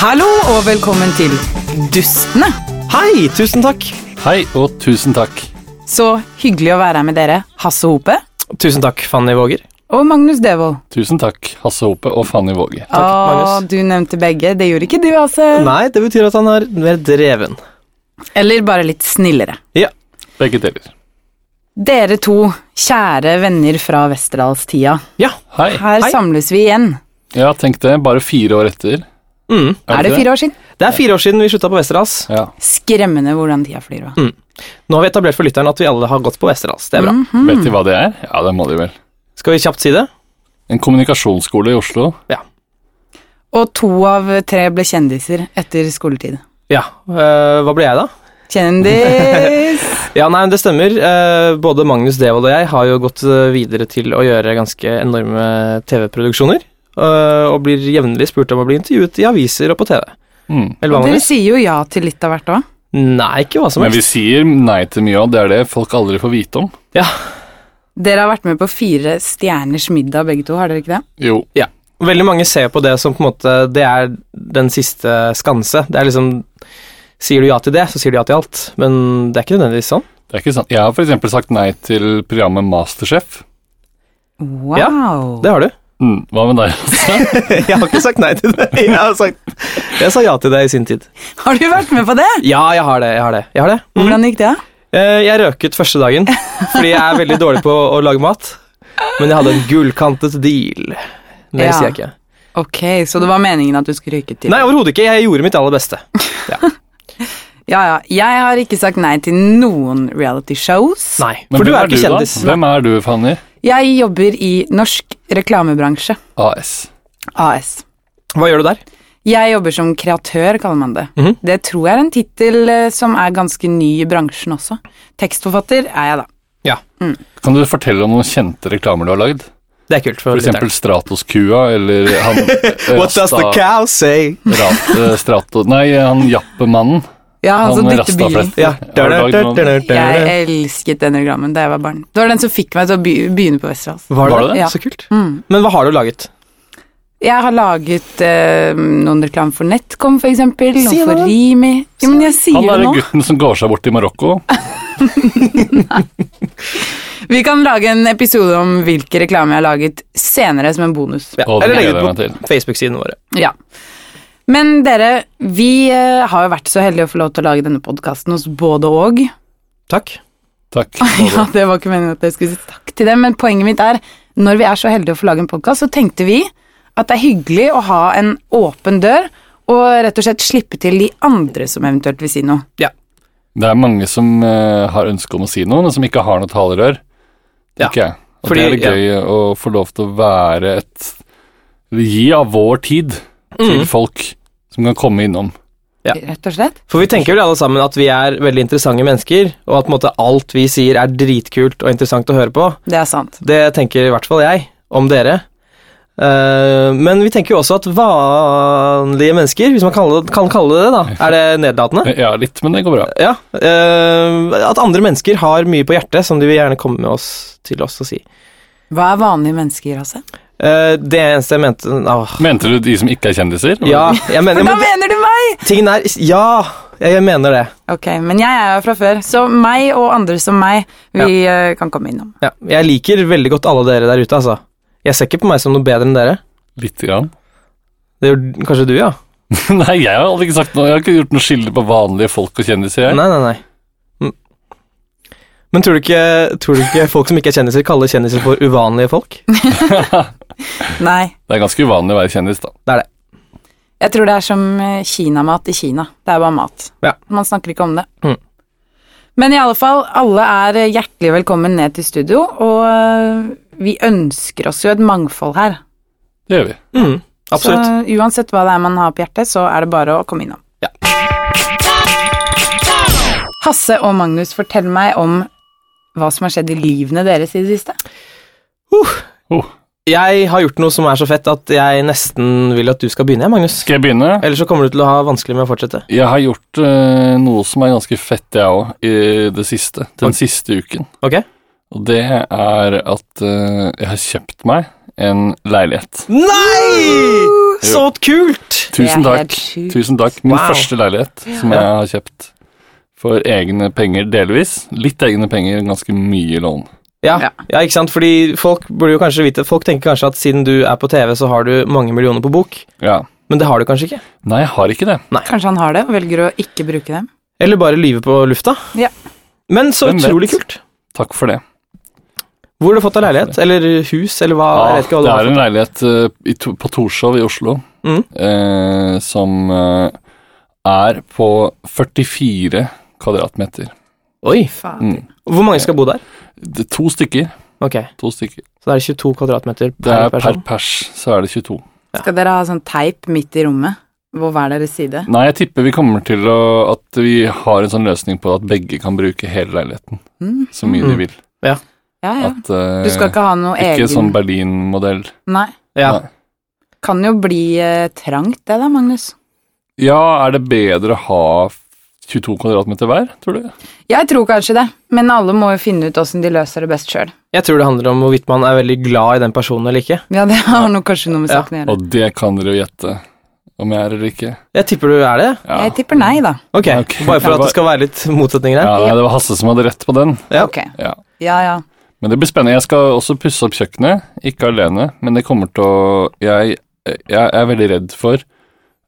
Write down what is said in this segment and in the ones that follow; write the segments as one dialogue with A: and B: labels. A: Hallo og velkommen til Dustene.
B: Hei, tusen takk.
C: Hei og tusen takk.
A: Så hyggelig å være her med dere, Hasse Hope
B: Tusen takk, Fanny Våger.
A: og Magnus Devold.
C: Tusen takk, Hasse Hope og Fanny Våge.
A: Å,
B: Magnus.
A: du nevnte begge. Det gjorde ikke du, Hasse.
B: Nei, det betyr at han er mer dreven.
A: Eller bare litt snillere.
B: Ja.
C: Begge deler.
A: Dere to, kjære venner fra Westerdalstida.
B: Ja.
C: Hei.
A: Her
B: Hei.
A: samles vi igjen.
C: Ja, tenk det. Bare fire år etter.
B: Mm.
A: Er det fire år siden?
B: Det er fire år siden vi slutta på Westerdals.
C: Ja.
A: Skremmende hvordan tida flyr.
B: Mm.
A: hva?
B: Nå har vi etablert for lytteren at vi alle har gått på Westerdals. Det er bra.
C: Vet de hva det er? Ja, det må de vel.
B: Skal vi kjapt si det?
C: En kommunikasjonsskole i Oslo.
A: Og to av tre ble kjendiser etter skoletid.
B: Ja. øh, hva ble jeg, da?
A: Kjendis!
B: Ja, nei, det stemmer. Eh, både Magnus Devold og jeg har jo gått eh, videre til å gjøre ganske enorme TV-produksjoner. eh, og blir jevnlig spurt om å bli intervjuet i aviser og på TV.
C: Mm.
B: Eller hva,
A: Dere
B: Magnus?
A: sier jo ja til litt av hvert òg.
B: Nei, ikke hva som
C: Men vi
B: helst.
C: sier nei til mye, og det er det folk aldri får vite om.
B: Ja,
A: Dere har vært med på Fire stjerners middag, begge to. Har dere ikke det?
C: Jo.
B: Veldig mange ser på det som på en måte Det er den siste skanse. Det er liksom Sier du ja til det, så sier du ja til alt. Men det er ikke nødvendigvis sånn.
C: Det er ikke sant. Jeg har f.eks. sagt nei til programmet Masterchef.
A: Wow.
B: Det har du.
C: Mm. Hva med deg, Hasse?
B: Jeg har ikke sagt nei til det. Jeg har sagt Jeg sa ja til det i sin tid.
A: Har du vært med på det?
B: Ja, jeg har det. Jeg har det. Jeg, har det. Mm.
A: Hvordan gikk det?
B: Eh, jeg røket første dagen fordi jeg er veldig dårlig på å lage mat. Men jeg hadde en gullkantet deal. Mer
A: Ja.
B: sier jeg ikke.
A: Ok, så det var meningen at du skulle ryke til?
B: Nei, overhodet ikke. Jeg gjorde mitt aller beste.
A: Ja, ja. Jeg har ikke sagt nei til noen reality shows.
B: Nei,
C: Men
B: For du
C: hvem
B: er ikke
C: da?
B: kjendis.
C: Hvem er du, Fanny?
A: Jeg jobber i norsk reklamebransje,
C: AS.
A: AS.
B: Hva gjør du der?
A: Jeg jobber som kreatør, kaller man det.
B: Mhm.
A: Det tror jeg er en tittel eh, som er ganske ny i bransjen også. Tekstforfatter er jeg, da.
C: Kan du fortelle om noen kjente reklamer du har lagd?
B: Det er kult. for,
C: F.eks.
B: lytteren.
C: Stratos-kua eller han
B: What does the
C: Rasta-
B: cow say?
C: Rat, eh, Strato... Nei, han jappemannen.
A: Ja, han som
C: Han
A: dytter Ah, bilen.
C: rastafletten.
B: Ja.
C: Har du lagd noen-
A: altså Jeg elsket den reklamen da jeg var barn. Det var den som fikk meg til å be- begynne på Westerdals.
B: Var
C: Var
B: det
C: det
B: det?
A: det?
B: Så kult.
A: Mm.
B: Men hva har du laget?
A: Jeg har laget eh, noen reklame for Netcom, for eksempel, og
B: Si det
A: for
B: da.
A: Rimi. Jo, men jeg sier
C: Han
A: det
C: er
A: nå.
C: gutten som går seg bort i Marokko.
A: Vi kan lage en episode om hvilke reklame jeg har laget senere, som en bonus.
B: Ja.
C: Og det
B: Eller legge
C: gleder jeg
B: det
C: meg
B: på Facebook-sidene våre.
A: Ja. Men dere, vi eh, har jo vært så heldige å få lov til å lage denne podkasten hos både og.
B: Takk.
C: Takk.
A: Ja, det var ikke meningen at jeg skulle si takk til dem, men poenget mitt er, når vi er så heldige å få lage en podkast, så tenkte vi at det er hyggelig å ha en åpen dør, og rett og slett slippe til de andre som eventuelt vil si noe.
C: Det er mange som eh, har ønske om å si noe, men som ikke har noe talerør.
B: Ja.
C: Tenker jeg. Og
B: Fordi-
C: det er gøy å få lov til å være et Gi av vår tid
B: Mm.
C: til folk som kan komme innom.
B: Ja.
A: Rett og slett.
B: For vi tenker vel alle sammen at vi er veldig interessante mennesker, og at på en måte, alt vi sier er dritkult og interessant å høre på.
A: Det er sant.
B: Det tenker i hvert fall jeg om dere. Eh, men vi tenker jo også at vanlige mennesker, hvis man kaller, kan kalle det det, da Er det nedlatende?
C: Eh, Ja, litt, men det går bra.
B: Ja. eh, at andre mennesker har mye på hjertet som de vil gjerne komme med oss til oss og si.
A: Hva er vanlige mennesker, altså?
B: Eh, det eneste jeg mente Åh.
C: Mente du de som ikke er kjendiser?
B: Ja, jeg mener,
A: Da
B: men,
A: mener du meg!
B: tingen er Ja, jeg, jeg mener det.
A: Ok, men jeg er jo fra før, så meg og andre som meg, vi eh, kan komme innom.
B: Ja, jeg liker veldig godt alle dere der ute, altså. Jeg ser ikke på meg som noe bedre enn dere.
C: Litt grann.
B: Det gjør kanskje du, ja?
C: Nei, jeg har aldri ikke sagt noe. Jeg har ikke gjort noe skille på vanlige folk og kjendiser. jeg.
B: Nei, nei, nei. Mm. Men tror du, ikke, tror du ikke folk som ikke er kjendiser, kaller kjendiser for uvanlige folk?
A: Nei,
C: Det er ganske uvanlig å være kjendis, da.
B: Det er det.
A: jeg tror det er som eh, kinamat i Kina. Det er bare mat.
B: Ja.
A: Man snakker ikke om det.
B: Mm.
A: Men i alle fall, alle er eh, hjertelig velkommen ned til studio, og eh, vi ønsker oss jo et mangfold her.
C: Det gjør vi.
B: Mm, absolutt.
A: Så eh, uansett hva det er man har på hjertet, så er det bare å komme innom.
B: Ja.
A: Hasse og Magnus, fortell meg om hva som har skjedd i livene deres i det siste.
C: Oh.
B: Jeg har gjort noe som er så fett at jeg nesten vil at du skal begynne, Magnus.
C: Skal jeg begynne?
B: Ellers så kommer du til å ha vanskelig med å fortsette.
C: Jeg har gjort eh, noe som er ganske fett, jeg òg, i det siste. Den siste uken.
B: Ok?
C: Og det er at eh, jeg har kjøpt meg en leilighet.
B: Nei! Så kult!
C: Tusen
A: Det er helt
C: takk.
A: sjukt.
C: Tusen takk. Min
B: Wow.
C: første leilighet som jeg har kjøpt for egne penger, delvis. Litt egne penger, ganske mye lån.
B: Ja,
A: Ja.
B: ja. ikke sant? Fordi folk burde jo kanskje vite Folk tenker kanskje at siden du er på TV, så har du mange millioner på bok.
C: Ja.
B: Men det har du kanskje ikke.
C: Nei, jeg har ikke det.
A: Kanskje han har det og velger å ikke bruke dem.
B: Eller bare lyve på lufta.
A: Ja.
B: Men så
C: Hvem vet?
B: utrolig kult.
C: Takk for det.
B: Hvor har du fått deg leilighet? Eller hus, eller hva? jeg vet ikke hva du
C: det
B: har
C: er en leilighet eh, i to, på Torshov i Oslo
B: Mm.
C: eh, som eh, er på 44 kvadratmeter.
B: fått. Oi.
A: Fader.
C: Mm.
B: Hvor mange skal bo der?
C: Det, er to stykker.
B: Ok,
C: To stykker.
B: Så det er 22 kvadratmeter
C: Det
B: per
C: er per
B: person.
C: pers, så er det 22.
A: Skal dere ha sånn teip midt i rommet? Hvor hver deres side?
C: Nei, jeg tipper vi kommer til å, at vi har en sånn løsning på at begge kan bruke hele leiligheten
A: Mm.
C: så mye
B: Mm.
C: de vil.
A: Ja, ja.
C: At, eh,
A: Du skal ikke ha noe
C: ikke
A: egen
C: sånn Berlin-modell.
A: Nei.
B: Ja.
C: Nei.
A: Kan jo bli eh, trangt, det da, Magnus.
C: Ja, er det bedre å ha 22 kvadratmeter hver, tror du?
A: Jeg tror kanskje det, men alle må jo finne ut åssen de løser det best sjøl.
B: Jeg tror det handler om hvorvidt man er veldig glad i den personen eller ikke.
A: Ja, det har nok kanskje noe med
B: Ja.
A: saken å gjøre.
C: Og det kan dere jo gjette om jeg er eller ikke.
B: Jeg tipper du er det.
C: Ja.
A: Jeg tipper nei, da.
B: Ok,
C: Ok.
B: Bare for at det skal være litt motsetninger her.
C: Ja, nei, det var Hasse som hadde rett på den.
B: Ja.
A: Ok.
C: Ja.
A: Ja, ja.
C: Men det blir spennende. Jeg skal også pusse opp kjøkkenet, ikke alene, men det kommer til å Jeg, jeg er veldig redd for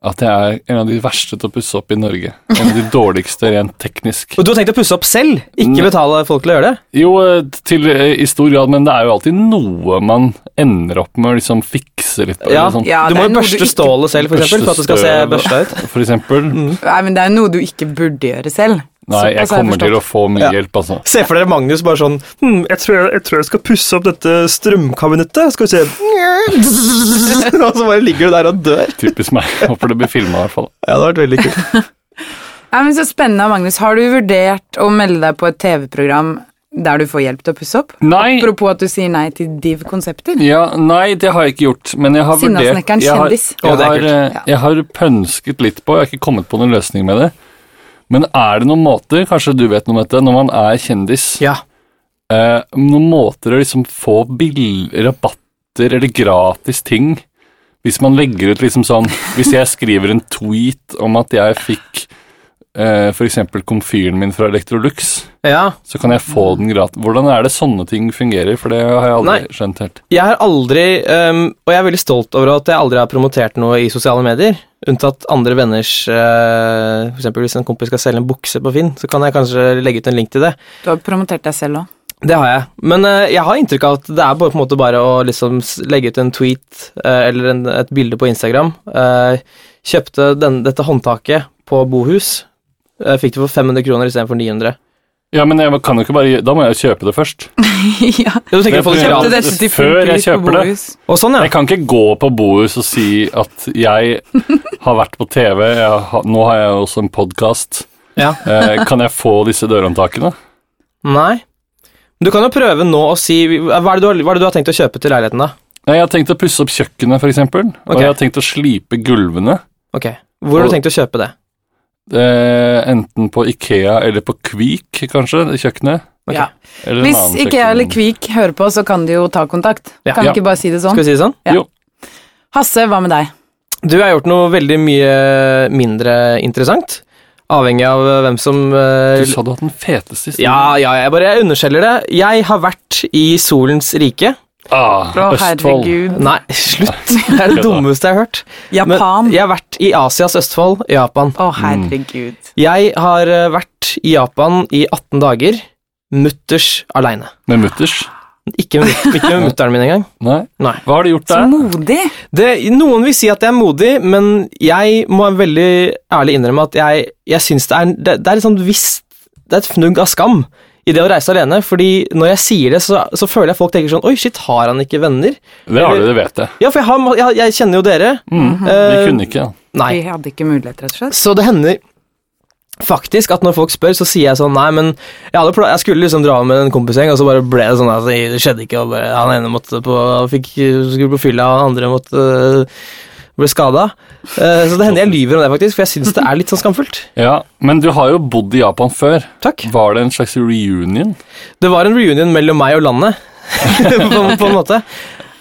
C: at jeg er en av de verste til å pusse opp i Norge. En av de dårligste rent teknisk.
B: Og du har tenkt å pusse opp selv? Ikke
C: Nei.
B: betale folk til å gjøre det?
C: Jo, eh, til, eh, i stor grad, men det er jo alltid noe man ender opp med å liksom fikse litt på.
B: Ja,
C: eller sånn.
A: Ja,
B: Du
A: det
B: må
A: er
B: jo
A: noe du
B: børste
A: ikke-
B: stålet selv, for eksempel,
C: Børste
B: for at det skal se
C: støv.
B: børsta ut.
C: For eksempel.
A: Nei, men det er noe du ikke burde gjøre selv.
C: Nei, jeg
A: Såpass altså, har
C: kommer til
A: forstått.
C: å få mye
B: Ja.
C: hjelp, altså.
B: Se for dere Magnus bare sånn hm, jeg, tror jeg, jeg tror jeg skal pusse opp dette strømkabinettet. Skal vi se Og så bare ligger du der og dør.
C: Typisk meg. Håper det blir filma, i hvert fall.
B: Ja, det hadde vært veldig kult.
A: Nei, men Så spennende, Magnus. Har du vurdert å melde deg på et TV-program der du får hjelp til å pusse opp?
C: Nei,
A: Apropos at du sier nei til div-konsepter.
C: ja, nei, det har jeg ikke gjort, men jeg har vurdert
A: Sinnasnekkeren
C: jeg har,
A: kjendis.
B: Å,
C: Jeg
B: det er
C: har,
B: kult.
C: eh,
A: Ja.
C: jeg har pønsket litt på, jeg har ikke kommet på noen løsning med det. Men er det noen måter, kanskje du vet noe om dette, når man er kjendis,
B: Ja.
C: eh, noen måter å liksom få bill rabatter eller gratis ting? Hvis man legger ut liksom sånn Hvis jeg skriver en tweet om at jeg fikk eh, f.eks. komfyren min fra Electrolux,
B: ja.
C: så kan jeg få den gratis. Hvordan er det sånne ting fungerer? For det har jeg aldri
B: Nei.
C: skjønt helt.
B: Jeg har aldri ehm, Og jeg er veldig stolt over at jeg aldri har promotert noe i sosiale medier. Unntatt andre venners eh, For eksempel hvis en kompis skal selge en bukse på Finn, så kan jeg kanskje legge ut en link til det.
A: Du har promotert deg selv òg.
B: Det har jeg. Men eh, jeg har inntrykk av at det er bare, på en måte bare å liksom s- legge ut en tweet eh, eller en, et bilde på Instagram. Eh, kjøpte den, dette håndtaket på Bohus. Eh, fikk det for 500 kroner istedenfor 900.
C: Ja, men jeg kan jo ikke bare gi- Da må jeg jo kjøpe det først.
A: ja.
B: Ja, du tenker å få det
C: Ja,
A: Kjøpte
B: gratis?
A: dette til
C: før jeg
A: fullpris på
C: kjøper det.
A: Bohus.
B: Og sånn, ja.
C: Jeg kan ikke gå på Bohus og si at jeg har vært på TV, jeg har, nå har jeg også en podkast.
B: ja.
C: Eh, kan jeg få disse dørhåndtakene?
B: Nei. Men du kan jo prøve nå å si Hva er det du har, hva er det du har tenkt å kjøpe til leiligheten, da?
C: Nei, Jeg har tenkt å pusse opp kjøkkenet, for eksempel. Og
B: Ok.
C: jeg har tenkt å slipe gulvene.
B: Ok. Hvor har du tenkt å kjøpe det?
C: Eh, enten på Ikea eller på Kvik, kanskje, det kjøkkenet.
B: Ok.
A: Ja.
C: Eller en
A: Hvis
C: annen
A: ikke jeg eller
C: kjøkken.
A: Kvik hører på, så kan de jo ta kontakt.
B: Ja.
A: Kan vi
C: Ja.
A: ikke bare si det
B: Skal
A: sånn?
B: vi si det sånn?
A: Ja.
C: Jo.
A: Hasse, hva med deg?
B: Du har gjort noe veldig mye mindre interessant. Avhengig av eh, hvem som eh,
C: Du sa du hadde den feteste historien.
B: Ja, ja, jeg bare jeg underskjeller det. Jeg har vært i solens rike.
C: Ah,
A: Å,
C: Østfold.
A: herregud.
B: Nei, slutt! Det er det dummeste jeg har hørt. Men
A: Japan. Å,
B: jeg har vært i Asias Østfold, Japan.
C: Mm.
A: herregud.
B: Jeg har eh, vært i Japan i 18 dager, mutters aleine.
C: Med mutters?
B: Ikke, med- ikke med mutter'n min engang.
C: Nei.
B: Nei.
C: Hva har du gjort
A: Så
C: der?
A: modig.
B: Det, noen vil si at jeg er modig, men jeg må veldig ærlig innrømme at jeg, jeg syns det er det, det er litt sånn visst Det er et fnugg av skam i det å reise alene, fordi når jeg sier det, så, så føler jeg folk tenker sånn Oi, shit, har han ikke venner?
C: Det har du, det vet jeg.
B: Ja, for jeg, har, ma- jeg, jeg kjenner jo dere.
C: Mm. Vi
B: Eh,
C: kunne ikke.
B: Nei.
A: Vi hadde ikke mulighet, rett og slett.
B: Så det hender faktisk at når folk spør, så sier jeg sånn Nei, men jeg, hadde pla jeg skulle liksom dra med en kompisgjeng, og så bare ble det sånn at det skjedde ikke. Og bare, han ene måtte på Han fikk, skulle på fylla, og han andre måtte øh, ble skada. Så det hender jeg lyver om det, faktisk, for jeg syns det er litt sånn skamfullt.
C: Ja, Men du har jo bodd i Japan før.
B: Takk.
C: Var det en slags reunion?
B: Det var en reunion mellom meg og landet, på, på en måte.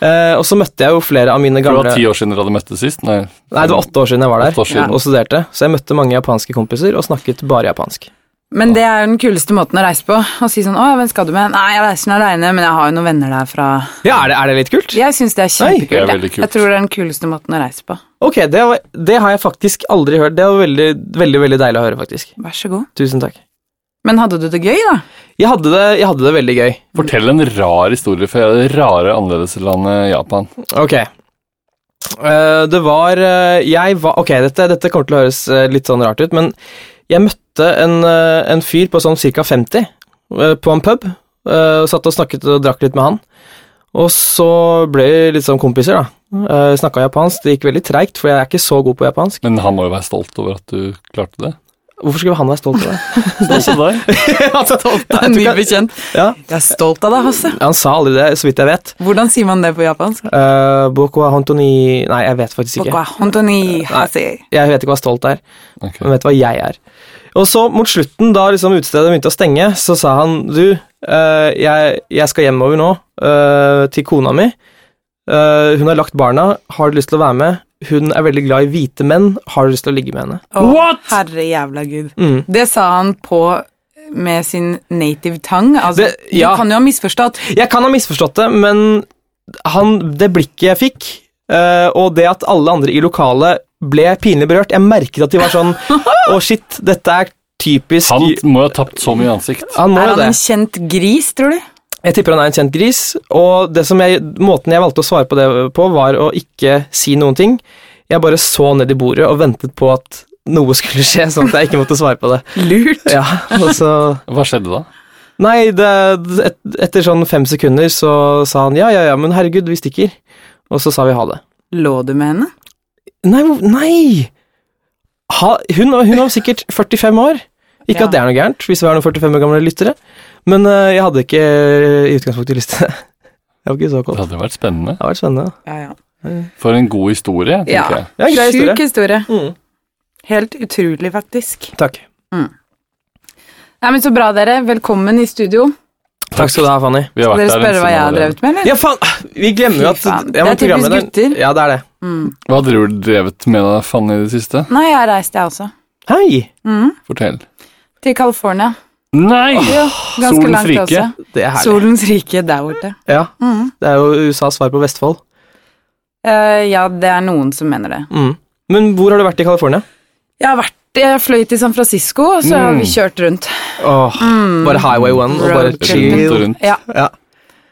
B: Eh, og så møtte jeg jo flere av mine
C: For det
B: gamle
C: var ti år siden dere hadde møttes sist? Nei,
B: Nei, det var åtte år siden jeg var
C: Åtte
B: der
C: år siden.
B: og studerte. Så jeg møtte mange japanske kompiser og snakket bare japansk.
A: Men det er jo den kuleste måten å reise på. Å si sånn 'Å, hvem skal du med?' 'Nei, jeg reiser aleine, men jeg har jo noen venner der fra
B: Ja, Er det, er det litt kult?
A: Jeg syns det er
C: det er
A: kjempekult.
C: veldig
A: jeg.
C: kult.
A: jeg tror det er den kuleste måten å reise på.
B: Ok, det, var, det har jeg faktisk aldri hørt. Det var veldig, veldig veldig deilig å høre, faktisk.
A: Vær så god.
B: Tusen takk.
A: Men hadde du det gøy, da?
B: Jeg hadde det, jeg hadde det veldig gøy.
C: Fortell en rar historie fra det rare annerledeslandet Japan.
B: Ok. Eh, det var eh, Jeg var Ok, dette, dette kommer til å høres eh, litt sånn rart ut, men jeg møtte en, eh, en fyr på sånn ca. 50 eh, på en pub. eh, og satt og snakket og drakk litt med han. Og så ble vi litt sånn kompiser, da. Uh, Snakka japansk. Det gikk veldig treigt, for jeg er ikke så god på japansk.
C: Men han må jo være stolt over at du klarte det.
B: Hvorfor skulle han være stolt av det?
C: Stolt av deg.
B: Altså, stolt av- jeg
A: Ny
B: tror ikke-
A: bekjent.
B: Ja.
A: Jeg er stolt av deg, Hasse.
B: Han sa aldri det, så vidt jeg vet.
A: Hvordan sier man det på japansk?
B: Eh, Boko wa hontoni Nei, jeg vet faktisk ikke.
A: Bokwa hontoni hase.
B: Jeg vet ikke hva stolt er.
C: Ok.
B: Men vet hva jeg er. Og så mot slutten, da liksom utestedet begynte å stenge, så sa han du, eh, jeg, jeg skal hjemover nå eh, til kona mi. Eh, hun har lagt barna. Har du lyst til å være med? Hun er veldig glad i hvite menn. Har du lyst til å ligge med henne?
A: Å, Herre jævla gud.
B: Mm.
A: Det sa han på med sin native tongue. Altså,
B: Det- ja.
A: Du kan jo ha misforstått.
B: Jeg kan ha misforstått det, men han, det blikket jeg fikk, eh, og det at alle andre i lokalet ble pinlig berørt Jeg merket at de var sånn Å, shit, dette er typisk
C: Han må jo ha tapt så mye ansikt.
B: Han må
A: Er
B: jo
A: han
B: det.
A: en kjent gris, tror du?
B: Jeg tipper han er en kjent gris, og det som jeg, måten jeg valgte å svare på det på, var å ikke si noen ting. Jeg bare så ned i bordet og ventet på at noe skulle skje, sånn at jeg ikke måtte svare på det.
A: Lurt.
B: Ja, og så...
C: Hva skjedde da?
B: Nei, det, et, etter sånn fem sekunder så sa han ja, ja, ja, men herregud, vi stikker. Og så sa vi ha det.
A: Lå du med henne?
B: Nei, hvor- nei! Ha, hun, hun var sikkert 45 år. Ikke
A: Ja.
B: at det er noe gærent, hvis vi har noen 45 år gamle lyttere, men øh, jeg hadde ikke øh, i utgangspunktet lyst til det. Det var ikke så
C: Det
B: kaldt.
C: hadde jo vært spennende.
B: Det har vært spennende.
A: Ja, ja.
C: For en god historie, tenker
A: Ja.
C: jeg.
B: Ja, grei historie.
A: Sjuk historie.
B: Mm.
A: Helt utrolig, faktisk.
B: Takk.
A: Nei, men Så bra, dere. Velkommen i studio.
B: Takk skal du ha, Fanny.
C: Vi har
A: Skal
C: vært
A: dere
C: der en
A: spørre hva
C: stund
A: jeg har
C: allerede.
A: drevet med, eller?
B: Ja, faen! Vi glemmer jo at
A: Fy faen.
B: ja, men
A: Det er typisk
B: programlederen-
A: gutter.
B: Ja, det er det.
A: Mm.
C: Hva har du drevet med da, Fanny, i det siste?
A: Nei, jeg har reist, jeg også.
B: Hei!
A: Mm.
C: Fortell.
A: Til California.
C: Nei!
A: Ja, ganske
C: solens
A: langt
C: rike.
A: også.
B: Det er herlig.
A: Solens rike der borte.
B: Ja,
A: Mm.
B: det er jo USAs svar på Vestfold.
A: Eh, ja, det er noen som mener det.
B: Mm. Men hvor har du vært i California?
A: Jeg har vært, jeg fløy til San Francisco, og så har vi
C: Mm.
A: kjørt rundt.
B: Åh,
A: Mm.
B: Bare Highway 1 og bare
A: Road trip.
C: Rundt og
B: chill.
C: rundt.
A: Ja.
B: Ja.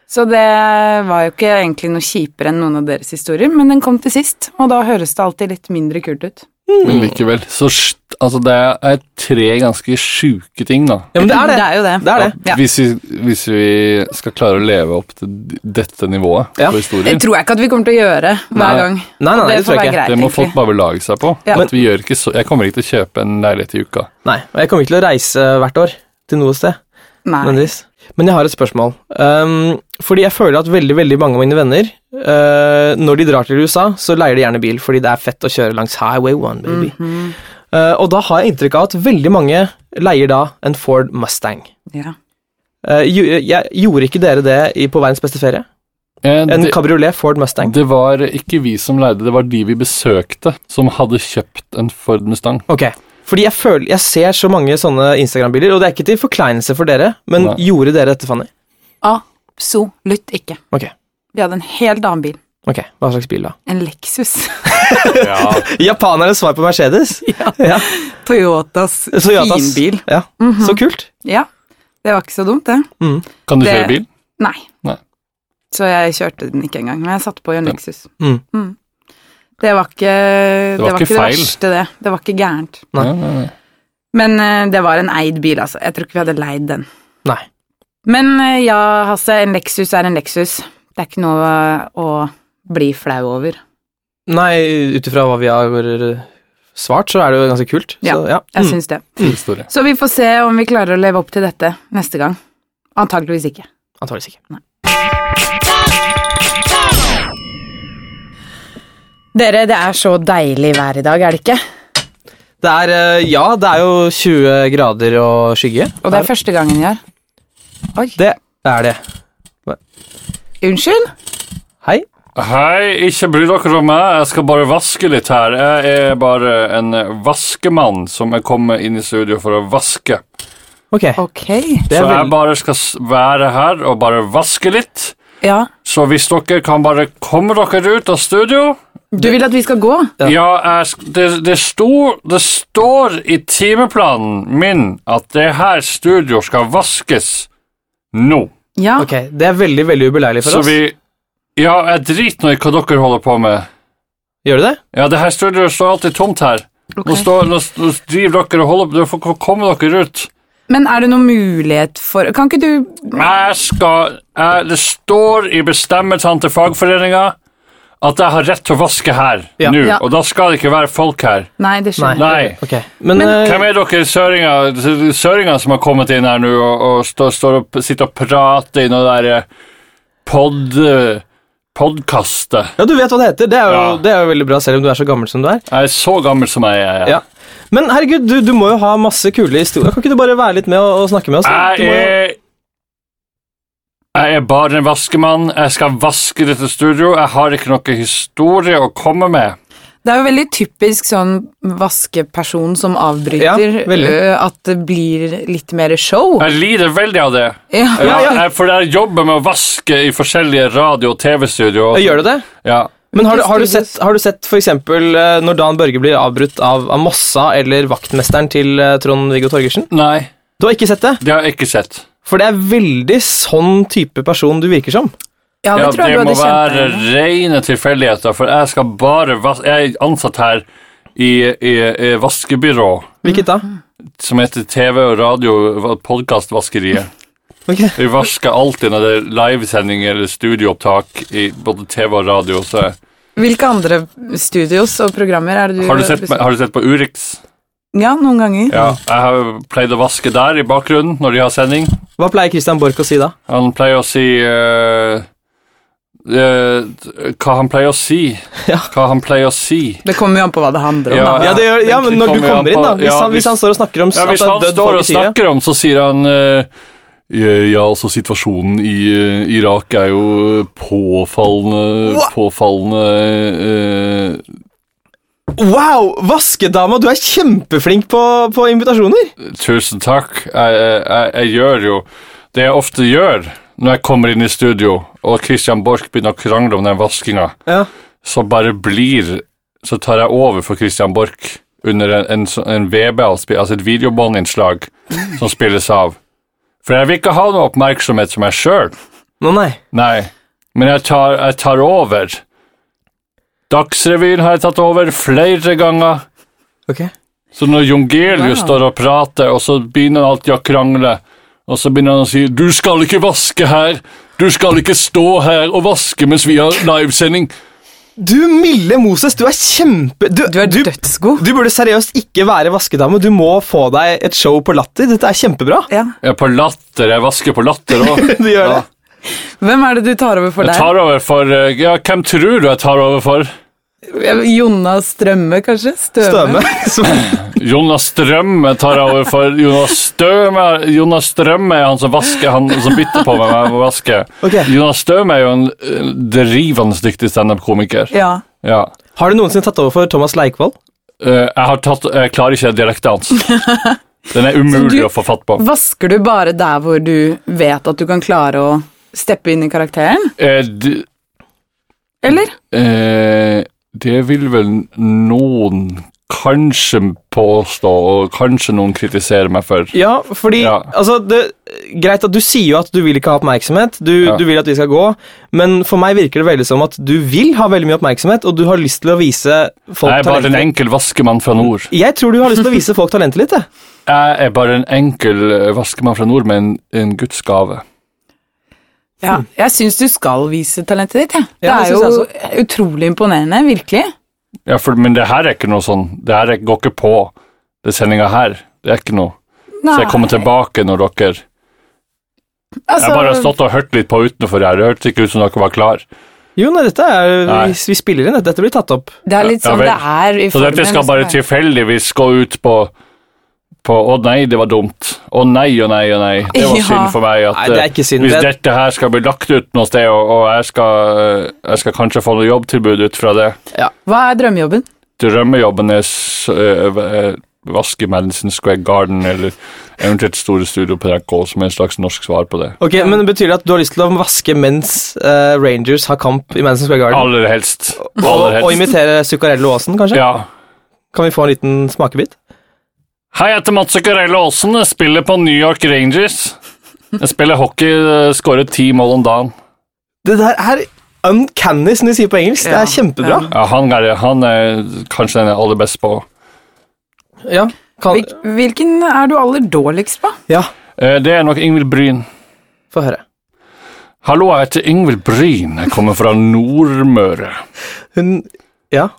A: Så det var jo ikke egentlig noe kjipere enn noen av deres historier, men den kom til sist, og da høres det alltid litt mindre kult ut.
C: Men likevel. Så sj- altså, det er tre ganske sjuke ting, da.
B: Ja, men det er det.
A: jo det.
B: Det er det.
A: Ja.
C: Hvis, vi, hvis vi skal klare å leve opp til d- dette nivået
B: Ja.
C: på
A: Det
C: historier,
A: tror jeg ikke at vi kommer til å gjøre
C: Nei.
A: hver gang.
B: Nei, nei,
A: det
B: det
A: får
B: tror
A: være
B: jeg ikke.
A: greit,
C: det må folk
A: egentlig.
C: bare belage seg på.
A: Ja.
C: At vi gjør ikke så, jeg kommer ikke til å kjøpe en leilighet i uka.
B: Nei, og jeg kommer ikke til å reise hvert år til noe sted.
A: Nei.
B: nødvendigvis. Men jeg har et spørsmål. Ehm, fordi jeg føler at veldig veldig mange av mine venner, eh, når de drar til USA, så leier de gjerne bil fordi det er fett å kjøre langs Highway 1, baby.
A: Mhm.
B: Eh, og da har jeg inntrykk av at veldig mange leier da en Ford Mustang.
A: Ja.
B: Eh, jo, jeg, gjorde ikke dere det i, på verdens beste ferie?
C: Eh,
B: En
C: det,
B: kabriolet Ford Mustang?
C: det var ikke vi som leide, det var de vi besøkte, som hadde kjøpt en Ford Mustang.
B: Ok. Fordi jeg, føler, jeg ser så mange sånne Instagram-bilder, og det er ikke til forkleinelse for dere, men
C: Nei.
B: gjorde dere dette, Fanny?
A: Absolutt ikke.
B: Ok.
A: Vi hadde en helt annen bil.
B: Ok, Hva slags bil, da?
A: En Lexus.
C: Ja,
B: Japanernes svar på Mercedes? ja.
A: Toyotas
B: Så ja, tass.
A: finbil.
B: Ja. Så kult. Mm,
A: Ja. Det var ikke så dumt, det.
C: Kan du
A: Det-
C: kjøre bil?
A: Nei.
C: Nei.
A: Så jeg kjørte den ikke engang, men jeg satte på i en
C: Ja.
A: Lexus.
B: Mm.
A: Det var ikke Det var ikke det
C: feil.
A: verste, det. Det var ikke gærent.
B: Nei.
C: Ja, nei, nei.
A: Men eh, det var en eid bil, altså. Jeg tror ikke vi hadde leid den.
B: Nei.
A: Men eh, ja, Hasse, en Lexus er en Lexus. Det er ikke noe å bli flau over.
B: Nei, ut ifra hva vi har eh, svart, så er det jo ganske kult.
A: Ja,
B: Så, ja.
A: Jeg
B: Mm.
A: syns det.
C: Kul historie.
A: Så vi får se om vi klarer å leve opp til dette neste gang. Antakeligvis ikke.
B: Antageligvis ikke.
A: Dere, det er så deilig vær i dag, er det ikke?
B: Det er, eh, ja, det er jo 20 grader og skygge.
A: Og det er første gangen jeg er.
B: Det er det.
A: Unnskyld?
B: Hei.
C: Hei, ikke bry dere om meg. Jeg skal bare vaske litt her. Jeg er bare en vaskemann som er kommet inn i studio for å vaske.
B: Ok.
A: Ok.
B: Det
C: Så
B: er
C: jeg
B: veldig-
C: bare skal s- være her og bare vaske litt.
A: Ja.
C: Så hvis dere kan bare komme dere ut av studio
A: Du vil at vi skal gå?
B: Ja.
C: Ja, jeg, sk- det, det, sto, det står i timeplanen min at det her studio skal vaskes nå.
A: Ja.
B: Ok, Det er veldig veldig ubeleilig for
C: Så
B: oss.
C: vi Ja, jeg driter nå i hva dere holder på med.
B: Gjør du det?
C: Ja, det her studioet står alltid tomt her. Nå,
A: ok.
C: står, nå, nå driver dere og holder på, dere får ikke komme dere ut.
A: Men er det noen mulighet for Kan ikke du
C: Jeg skal, jeg, det står i bestemmelsene til fagforeninga at jeg har rett til å vaske her
B: Ja.
C: nå,
A: Ja.
C: og da skal det ikke være folk her.
A: Nei, det skjønner jeg.
C: Nei.
B: Ok, Men, eh,
C: Hvem er dere søringer, søringer som har kommet inn her nå og, og står, står og sitter og prater i noe der eh, pod, eh, podkastet?
B: ja, du vet hva det heter. Det er, jo,
C: Ja.
B: det er jo veldig bra, selv om du er så gammel som du er.
C: Jeg er så gammel som jeg er.
B: Ja. Men herregud, du, du må jo ha masse kule historier. Kan ikke du bare være litt med og, og snakke med oss? da? Du
C: Jeg
B: må jo...
C: er jeg er bare en vaskemann. Jeg skal vaske dette studio. Jeg har ikke noe historie å komme med.
A: Det er jo veldig typisk sånn vaskeperson som
B: Ja,
A: avbryter,
B: veldig.
A: ø, at det blir litt mer show.
C: Jeg lider veldig av det.
A: Ja.
B: Ja, ja.
C: Jeg, for jeg jobber med å vaske i forskjellige radio- og TV-studio.
B: Gjør du det?
C: Ja.
B: Men har, du- har du
A: Hvilke
B: sett, har du sett for eksempel eh, når Dan Børge blir avbrutt av, av Mossa eller vaktmesteren til eh, Trond-Viggo Torgersen?
C: Nei,
B: Du har ikke sett det?
C: det har jeg ikke sett.
B: For det er veldig sånn type person du virker som.
A: Ja, det
C: Ja,
A: tror jeg du hadde
C: må
A: kjent
C: være
A: deg igjen i.
C: rene tilfeldigheter, for jeg skal bare vas Jeg er ansatt her i, i, i vaskebyrå,
B: Hvilket da?
C: som heter TV og radio podkastvaskeriet.
B: Ok.
C: Vi vasker alltid når det er livesending eller studioopptak i både TV og radio. Så
A: Hvilke andre studios og programmer er det du
C: har, du sett, har du sett på Urix?
A: Ja, noen ganger.
C: Ja, jeg har pleid å vaske der i bakgrunnen når de har sending.
B: Hva pleier Christian Borch å si da?
C: Han pleier å si eh, eh, Hva han pleier å si.
B: Ja.
C: Hva han pleier å si.
A: Det kommer jo an på hva det handler om,
C: Ja.
A: da.
B: Ja, det gjør, ja men når du
C: Kommer han
B: kommer inn, da.
C: på-
B: Hvis
C: ja,
B: han, hvis
C: hvis-
B: han står og snakker om
C: Ja,
B: at
C: hvis
B: det er
C: han
B: dødd
C: står
B: folk
C: og
B: i Syria.
C: snakker om, så sier han eh, ja, altså situasjonen i eh, Irak er jo påfallende
B: Hva?
C: Påfallende eh,
B: Wow, vaskedama, du er kjempeflink på, på invitasjoner!
C: Tusen takk. Jeg, jeg, jeg gjør jo det jeg ofte gjør når jeg kommer inn i studio og Christian Borch begynner å krangle om den vaskinga,
B: Ja.
C: så bare blir Så tar jeg over for Christian Borch under en, en, så- en VB, altså et videobåndinnslag som spilles av. For jeg vil ikke ha noe oppmerksomhet som jeg sjøl.
B: Nå, nei.
C: Nei, men jeg tar, jeg tar over. Dagsrevyen har jeg tatt over flere ganger.
B: Ok.
C: Så når Jon Gelius
A: Wow.
C: står og prater, og så begynner han alltid å krangle, og så begynner han å si 'du skal ikke vaske her', 'du skal ikke stå her og vaske mens vi har livesending'.
B: Du milde Moses, du er kjempe... Du,
A: Du er dødsgod.
B: Du burde seriøst ikke være vaskedame. Du må få deg et show på Latter. Dette er kjempebra.
A: Ja.
C: Jeg er på latter, jeg vasker på latter òg.
B: Du gjør det.
A: Hvem er det du tar over for
C: Jeg
A: der?
C: tar over for eh, Ja, hvem tror du jeg tar over for?
A: Jonas Strømme, kanskje? Støme?
B: Støme. Som-
C: Jonas Strømme tar jeg over for Jonas Støme. Jonas Strømme er han som vasker, han som bytter på meg når jeg må vaske.
B: Ok.
C: Jonas Støme er jo en eh, drivende dyktig standup-komiker.
A: Ja.
C: Ja.
B: Har du noensinne tatt over for Thomas Leikvoll?
C: Eh, jeg, har tatt, jeg klarer ikke dialekten hans. Den er umulig
A: Så du-
C: å få fatt på.
A: Vasker du bare der hvor du vet at du kan klare å steppe inn i karakteren?
C: Eh, d-
A: Eller?
C: eh, det vil vel noen kanskje påstå, og kanskje noen kritiserer meg for.
B: Ja, fordi
C: Ja.
B: altså, det, Greit at du sier jo at du vil ikke ha oppmerksomhet, du,
C: Ja.
B: du vil at vi skal gå, men for meg virker det veldig som at du vil ha veldig mye oppmerksomhet, og du har lyst til å vise folk
C: Jeg er bare en
B: talentet.
C: enkel vaskemann fra nord.
B: Jeg tror du har lyst til å vise folk talentet litt, jeg.
C: Jeg er bare en enkel eh, vaskemann fra nord med en, en Guds gave.
A: Ja. Jeg syns du skal vise talentet ditt, jeg. Det
B: Ja, det
A: er jo
B: synes
A: utrolig imponerende, virkelig.
C: Ja, for, men det her er ikke noe sånn. Det her er- går ikke på det sendinga her. Det er ikke noe. Så jeg kommer tilbake når dere Jeg
A: Altså,
C: bare har stått og hørt litt på utenfor her. Det hørtes ikke ut som dere var klar.
B: Jo, nei, dette er
C: Nei.
B: Vi, vi spiller inn dette. Dette blir tatt opp.
A: Det er litt
C: Ja,
A: sånn
C: vel.
A: det er i
C: Så dette skal bare tilfeldigvis gå ut på på, Å nei, det var dumt. Å nei, å nei, å nei. Det var
A: Ja.
C: synd for meg. At,
B: Nei, det er ikke synd.
C: Hvis
B: Det-
C: dette her skal bli lagt ut noe sted, og, og jeg, skal, eh, jeg skal kanskje få noe jobbtilbud ut fra det
A: Hva er drømmejobben?
C: Drømmejobben er s- øh, øh, vaske Madison Square Garden, eller eventuelt Store Studio på NRK, som er en slags norsk svar på det.
B: Ok, men Betyr det at du har lyst til å vaske mens eh, Rangers har kamp i Madison Square Garden?
C: Aller helst. Aller
B: Og, og
C: helst.
B: imitere Zuccarello Aasen, kanskje?
C: Ja.
B: Kan vi få en liten smakebit?
C: Hei, jeg heter Mats Zuccarello Aasen. Jeg spiller på New York Rangers. Jeg spiller hockey, øh, skårer ti mål om dagen.
B: Det der er uncanny, som de sier på engelsk. Det
A: Ja,
B: er kjempebra.
C: Ja, han er, han er kanskje den jeg er aller best på.
B: Ja. Kan,
A: Hvil- Hvilken er du aller dårligst på?
B: ja,
C: Eh, Det er nok Ingvild Bryn.
B: få høre.
C: Hallo, jeg heter Ingvild Bryn. Jeg kommer fra Nordmøre.
B: Hun Ja,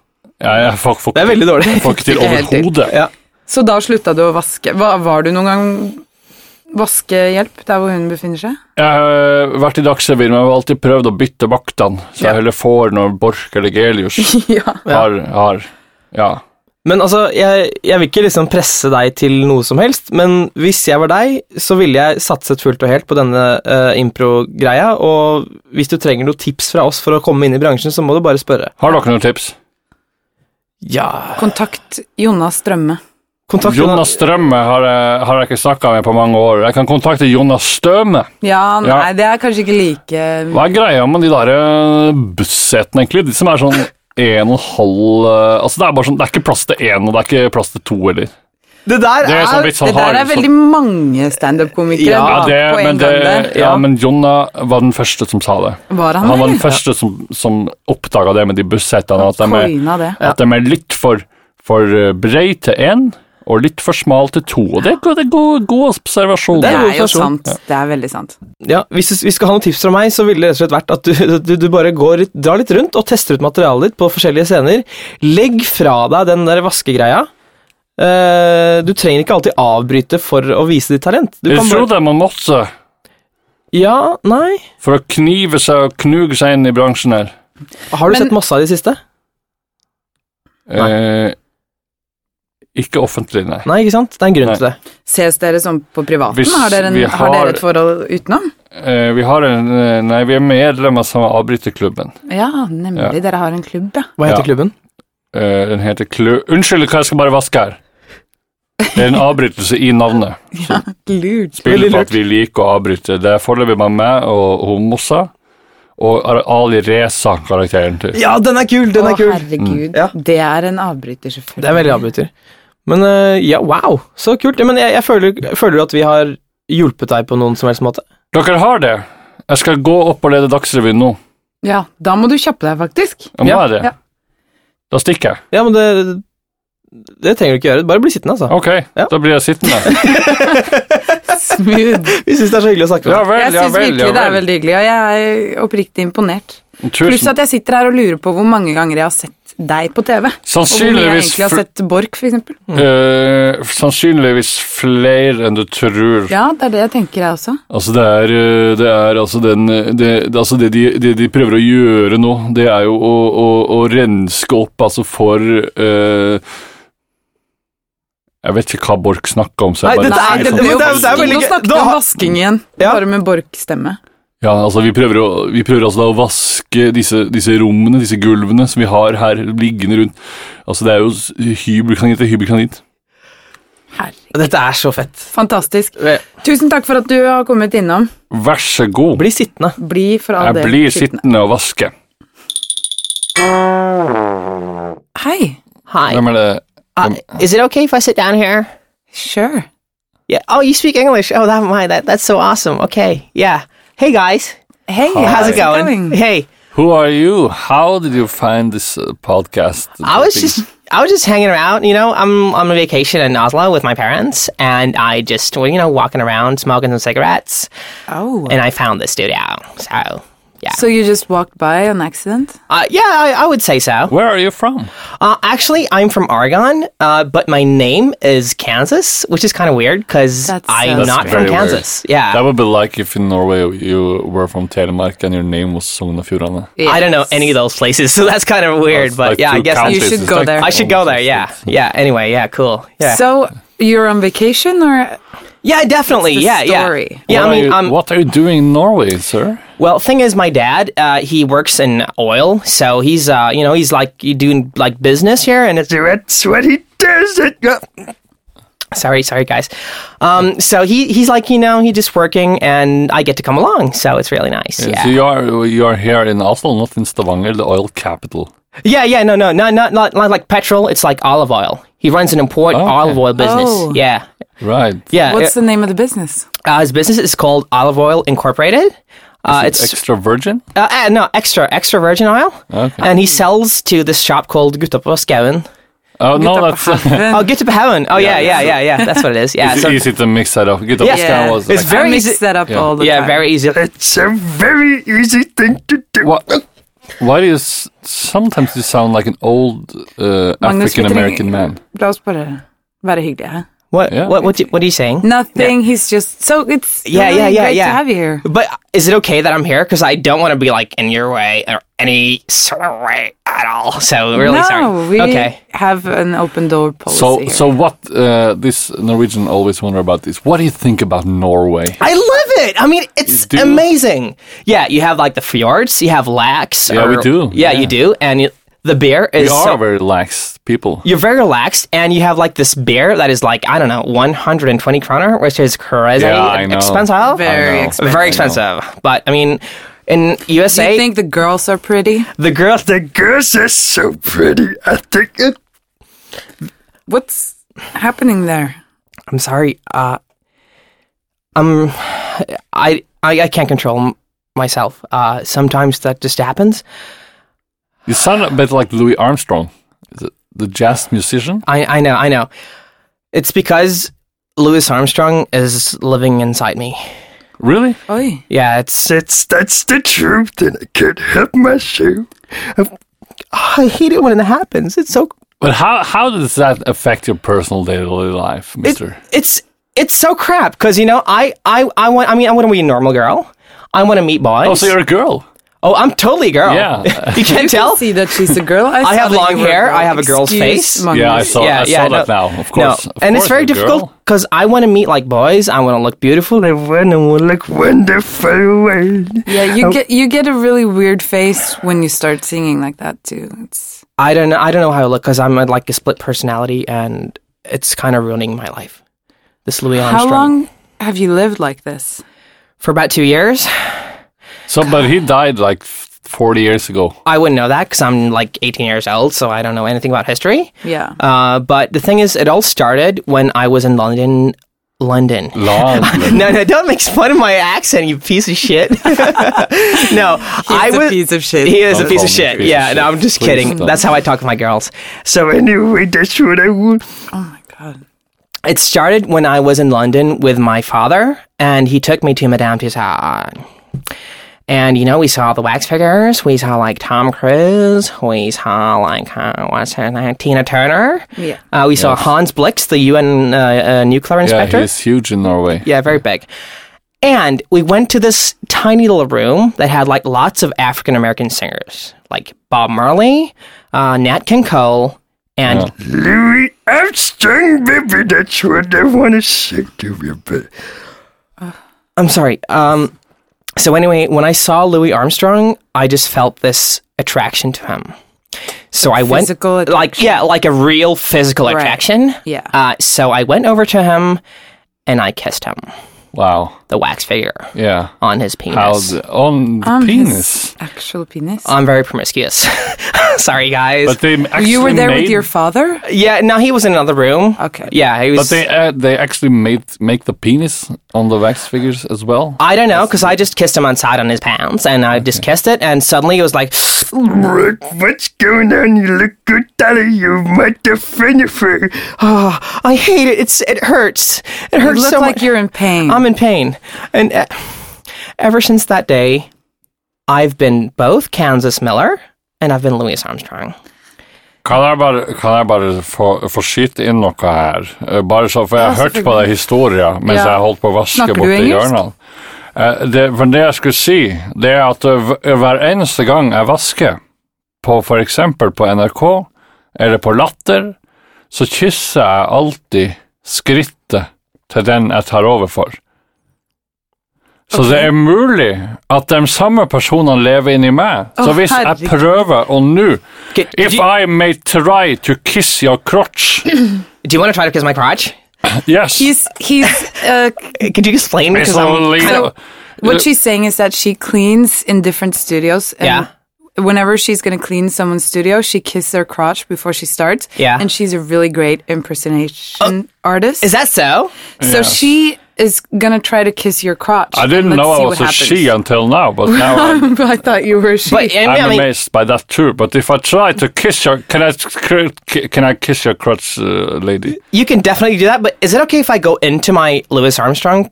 C: Jeg, jeg får, får,
B: det er veldig dårlig.
C: får ikke til
A: Ikke helt til.
C: overhodet.
B: Ja.
A: Så da slutta du å vaske. Hva, var du noen gang vaskehjelp der hvor hun befinner seg?
C: Jeg har vært i Dagsrevyen, men jeg har alltid prøvd å bytte vaktene, så
B: Ja.
C: jeg heller får når Borch eller Gelius
A: ja.
C: har, har Ja.
B: Men altså, jeg, jeg vil ikke liksom presse deg til noe som helst, men hvis jeg var deg, så ville jeg satset fullt og helt på denne eh, impro-greia, og hvis du trenger noen tips fra oss for å komme inn i bransjen, så må du bare spørre.
C: Har dere noen tips?
B: Ja
A: Kontakt Jonas Strømme.
B: Kontakt
C: Jonas
B: Jonas.
C: Strømme har, jeg- har jeg ikke snakka med på mange år. Jeg kan kontakte Jonas Støme.
A: Ja, nei,
C: Ja.
A: det er kanskje ikke like
C: Hva er greia med de der eh, bussetene, egentlig? De som er sånn en og en halv eh, Altså, det er bare sånn Det er ikke plass til én, og det er ikke plass til to heller.
B: Det der
C: Det
B: er
C: er sånn litt sånn
A: Det der
C: hard
A: er veldig mange standup-komikere
B: Ja,
C: Ja, det,
A: på en
C: men
A: gang
C: det,
A: der. Ah,
C: ja,
B: Ja.
C: men Jonna var den første som sa det.
A: Var han,
C: Han var den
A: eller?
C: første som, som oppdaga det med de bussetene. At de er
A: Coina det.
C: At de er litt for, for eh, brei til én, og litt for smal til to. Og det er, go- det er god, god observasjon.
A: Det
B: Det er
A: er jo
B: irritasjon.
A: sant. Det er veldig sant.
B: Ja, hvis du, hvis du skal ha noen tips fra meg, så ville det rett og slett vært at du, du, du bare går, litt- drar litt rundt og tester ut materialet ditt på forskjellige scener. Legg fra deg den der vaskegreia. Eh, du trenger ikke alltid avbryte for å vise ditt talent. Du
C: Jeg
B: kan bare-
C: trodde man måtte
B: Ja, nei
C: for å knive seg og knuge seg inn i bransjen her.
B: Har du
A: Men-
B: sett masse av de siste?
C: Eh, ikke offentlig, nei.
B: Nei, ikke sant? Det er en grunn
C: Nei.
B: til det.
A: Ses dere sånn på privaten?
C: Hvis
A: har, dere en,
C: vi
A: har...
C: har-
A: dere et forhold utenom?
C: Eh, vi har en eh, Nei, vi er medlemmer som avbryter klubben.
A: Ja, nemlig. Dere har en klubb, ja.
B: Hva heter
C: Ja.
B: klubben?
C: Eh, den heter Klø... Unnskyld, hva jeg skal bare vaske her. Det er en avbrytelse i navnet.
A: Lurt.
B: Veldig
C: Spiller på
B: lurt.
C: at vi liker å avbryte. Det er foreløpig bare meg og Homosa og Ali Reza-karakteren til.
B: Ja, den er kul! Den
A: Å,
B: er kul!
A: herregud.
B: Ja.
A: Det er en avbryter, selvfølgelig.
B: Det er veldig avbryter. Men eh, ja, wow, så kult. Ja, men jeg, jeg føler, føler du at vi har hjulpet deg på noen som helst måte?
C: Dere har det. Jeg skal gå opp og lede Dagsrevyen nå.
A: Ja, da må du kjappe deg, faktisk.
C: Jeg må
B: Ja,
C: jeg det.
A: ja.
C: Da stikker jeg.
B: Ja, men det Det trenger du ikke gjøre. Bare bli sittende, altså.
C: Ok,
B: Ja.
C: da blir jeg sittende.
A: Smooth.
B: Vi syns det er så hyggelig å snakke med
C: Ja
B: deg.
C: vel,
A: Jeg
C: ja
A: syns
C: vel.
A: virkelig
C: Ja
A: det er
C: vel.
A: veldig hyggelig, og jeg er oppriktig imponert. Pluss
C: Tusen.
A: at jeg sitter her og lurer på hvor mange ganger jeg har sett deg på TV. Og hvor mye jeg
C: Sannsynligvis,
A: egentlig har
C: fl-
A: sett Borch, for eksempel.
C: eh, sannsynligvis flere enn du tror.
A: Ja, det er det jeg tenker, jeg også.
C: Altså, det er, eh, det er altså den eh, Det, det, altså det, de, det de prøver å gjøre nå, det er jo å, å, å renske opp altså for eh, Jeg vet ikke hva Borch snakker om, så jeg
B: Nei,
C: bare
B: dette er-
C: sier
B: det-
C: sånn.
B: det- det- det er veldig
A: Nå
B: gøy.
A: snakket
B: Da
A: vi om
B: har-
A: vasking igjen,
B: Ja.
A: bare med Borch-stemme.
C: Ja, altså vi prøver, å, vi prøver altså da å vaske disse, disse rommene, disse gulvene som vi har her liggende rundt. Altså det er jo s- hybelkanin til hybelkanin.
A: Herregud.
B: Dette er så fett.
A: Fantastisk.
B: Eh,
A: Tusen takk for at du har kommet innom.
C: Vær så god.
B: Bli sittende.
A: Bli for all
C: Jeg
A: del
C: blir sittende og vaske.
A: Hei.
B: Hi.
C: Hvem er det?
D: Uh, Is it okay if I sit down here?
A: Sure.
D: Yeah. Oh, you speak English. Oh, that my that that's so awesome. Okay. Yeah. Hey guys,
A: Hey,
D: how's it going? Hey,
C: Who are you? How did you find this uh, podcast?
D: I was just I was just hanging around. You know, I'm on a vacation in Oslo with my parents, and I just well, you know walking around smoking some cigarettes,
A: Oh.
D: and I found this studio. So
B: Yeah.
A: So you just walked by on accident?
B: Uh, yeah, I, I would say so.
C: Where are you from?
B: Uh, actually, I'm from Oregon, uh, but my name is Kansas, which is kind of weird because
A: That's, uh,
B: I'm
A: That's
B: not
C: very
B: from Kansas. Yeah.
C: That would be like if in Norway you were from Telemark and your name was Sogn og Fjordane.
B: I don't know any of those places, so that's kind of weird.
C: It's
B: But
C: like
B: yeah, I
C: two
B: guess
C: counties,
A: You should
C: it's
A: go
C: like
A: there.
B: I should go there.
C: almost
B: Yeah.
C: states.
B: Yeah. Anyway, yeah. Cool. Yeah.
A: So you're on vacation or
B: yeah, definitely.
A: What's the
B: yeah.
A: story?
B: Yeah. Yeah. I
C: what, are
B: mean,
C: you,
B: um,
C: what are you doing in Norway, sir?
B: well, thing is, my dad, uh, he works in oil, so he's, uh, you know, he's like you doing like business here, and it's that's what he does. It. Sorry, sorry, guys. Um, so he he's like, you know, he just working, and I get to come along, so it's really nice. Yeah.
C: So you are you are here in Oslo, not in Stavanger, the oil capital.
B: Yeah, yeah, no, no, no, not not, not like petrol. It's like olive oil. He runs an important
C: okay.
B: olive oil business.
A: Oh.
B: Yeah,
C: Right.
B: yeah.
A: what's the name of the business?
B: uh, his business is called Olive Oil Incorporated. Uh,
C: It's
B: it's
C: extra virgin.
B: uh, uh, no extra extra virgin oil, and he sells to this shop called Gutta på Skauen.
C: Oh no, that's
B: Oh, Gutta på Hauen. Oh yeah, yeah, yeah, yeah. That's what it is. Yeah,
C: it's
B: so,
C: easy to mix that up. Get up
B: Yeah.
C: scan was
B: It's
C: like-
B: very
A: I mix
B: easy-
A: that up all the
B: yeah,
A: time.
B: very easy. It's a very easy thing to do.
C: Wha- Why do you s- sometimes you sound like an old uh,
A: Magnus,
C: African American
A: vi trenger-
C: man?
A: La oss bare være hyggelige her.
B: What?
C: Yeah.
B: What? What, do- what are you saying?
A: Nothing, he's just So it's
B: Yeah,
A: really
B: yeah, yeah,
A: great
B: yeah.
A: to have you here.
B: But is it okay that I'm here? Because I don't want to be like in your way or any sort of way at all. So really
A: no,
B: sorry.
A: we
B: okay.
A: have an open door policy
C: So,
A: here.
C: so what uh, this Norwegian always wonder about is what do you think about Norway?
B: I love it. I mean, it's
C: do?
B: amazing. Yeah, you have like the fjords, you have lax.
C: Yeah,
B: or-
C: we do.
B: Yeah,
C: Yeah.
B: you do, and you, the beer
C: We
B: is
C: are
B: so-
C: very lax people.
B: you're very relaxed, and you have like this beer that is like I don't know, 120 kroner, which is crazy
C: Yeah, I know.
B: expensive,
A: Very
C: I know.
A: expensive.
B: very expensive. But I mean, in
A: Do
B: USA,
A: you think the girls are pretty?
B: the girls, the girls are so pretty. I think it
A: What's happening there?
B: I'm sorry. Uh, um, I, I I can't control m- myself. Uh, sometimes that just happens.
C: You sound a bit like Louis Armstrong, the, the jazz musician.
B: I I know. I know. It's because Louis Armstrong is living inside me.
C: Really?
A: Oi.
B: Yeah, it's it's that's the truth, and I can't help myself. I, I hate it when it happens. It's so
C: But how how does that affect your personal daily life,
B: it,
C: Mister?
B: it's it's so crap because you know I I I want I mean I want to be a normal girl. I want to meet boys.
C: Oh, so you're a girl.
B: Oh, I'm totally a girl.
C: Yeah.
B: you can't tell.
A: See that she's a girl. I,
B: I
A: saw
B: have
A: that
B: long
A: you were
B: hair,
A: girl.
B: I have a girl's
A: Excuse
B: face.
A: Magnus.
C: Yeah, Oh, I saw. I saw that now. Of course,
B: No.
C: Of
B: and it's
C: course,
B: very
C: a girl.
B: difficult because I want to meet like boys. I want to look beautiful. I want to look wonderful.
A: Yeah, you get you get a really weird face when you start singing like that too. It's
B: I don't know. I don't know how I look because I'm uh, like a split personality, and it's kind of ruining my life. This Louis
A: how
B: Armstrong
A: long have you lived like this?
B: for about two years.
C: So, but he died like f- 40 years ago.
B: I wouldn't know that because I'm like 18 years old, so I don't know anything about history.
A: Yeah.
B: Uh, but the thing is, it all started when I was in London. London.
C: Long.
B: No, no, don't make fun of my accent, you piece of shit. no, I
A: a
B: was
A: piece of shit.
B: He is
C: Don't
B: a piece
C: call
B: of
C: me a
B: shit.
C: piece of
B: yeah,
C: shit.
B: no, I'm just
C: Please
B: kidding.
C: don't.
B: That's how I talk to my girls. So anyway, that's what I want.
A: Oh my god.
B: It started when I was in London with my father, and he took me to Madame Tussauds. And you know, we saw the wax figures. We saw like Tom Cruise. We saw like uh, what's her name, Tina Turner.
A: Yeah.
B: Uh, we saw Hans Blix, the UN uh, uh, nuclear
C: yeah,
B: inspector.
C: he's huge in Norway.
B: Yeah, very big. And we went to this tiny little room that had like lots of African American singers, like Bob Marley, uh, Nat King Cole, and
E: Oh. Louis Armstrong, baby, that's what I want to say to you, baby.
B: Uh, I'm sorry. Um, so anyway, when I saw Louis Armstrong, I just felt this attraction to him. So I went
A: physical
B: like yeah, like a real physical attraction.
A: Yeah.
B: Uh, so I went over to him and I kissed him,
C: Wow.
B: the wax figure
C: Yeah.
B: on his penis.
C: How the- on the
A: On Um, his
C: penis.
A: actual penis.
B: I'm very promiscuous. sorry, guys.
C: But they actually
A: you were there
C: made,
A: with your father?
B: Yeah, no, he was in another room.
A: Okay.
B: Yeah, he was.
C: But they uh, they actually made make the penis on the wax figures as well.
B: I don't know, because I just kissed him on side on his pants, and I just kissed it, and suddenly it was like,
E: Look, what's going on? You look good, Dolly, you motherfucker.
B: oh, I hate it. It's it hurts. It
A: You
B: hurts
A: look
B: so
A: like
B: much.
A: you're in pain.
B: I'm in pain, and uh, ever since that day, I've been both Kansas Miller and I've been Louis Armstrong.
C: Kan jeg bare, kan jeg bare få, få skyte inn noe her? Eh, Bare så, For jeg
A: Ja,
C: hørte på
A: selvfølgelig.
C: den historien mens
A: Ja.
C: jeg holdt på å vaske
A: Snakker du
C: borti
A: engelsk?
C: hjørnene. Eh, Det, for det jeg skulle si, det er at eh, hv- hver eneste gang jeg vasker, på for eksempel på NRK eller på Latter, så kysser jeg alltid skrittet til den jeg tar over for. Så det er mulig at de samme personene lever inni meg.
A: Å,
C: Så hvis jeg
A: herregud.
C: prøver å nå
B: Okay,
C: If
B: do, you,
C: I may try to kiss your crotch,
B: do you want to try to kiss my crotch?
C: yes,
A: He's, he's, uh,
B: Could you explain?
C: it's
B: Because I'm
C: only
B: kind of, Uh,
A: what she's saying is that she cleans in different studios. And
B: Yeah.
A: Whenever she's going to clean someone's studio, she kisses their crotch before she starts.
B: Yeah. Uh,
A: And she's a really great impersonation artist.
B: is that so?
A: so she is going to try to kiss your crotch.
C: I didn't
A: Let's
C: know I
A: see
C: was a
A: what happens.
C: she until now, but now I'm,
A: I thought you were a she.
B: But I mean, I
C: I'm
B: mean,
C: amazed by that too. But if I try to kiss your, can I cr- can I kiss your crotch, uh, lady?
B: you can definitely do that. But is it okay if I go into my Louis Armstrong,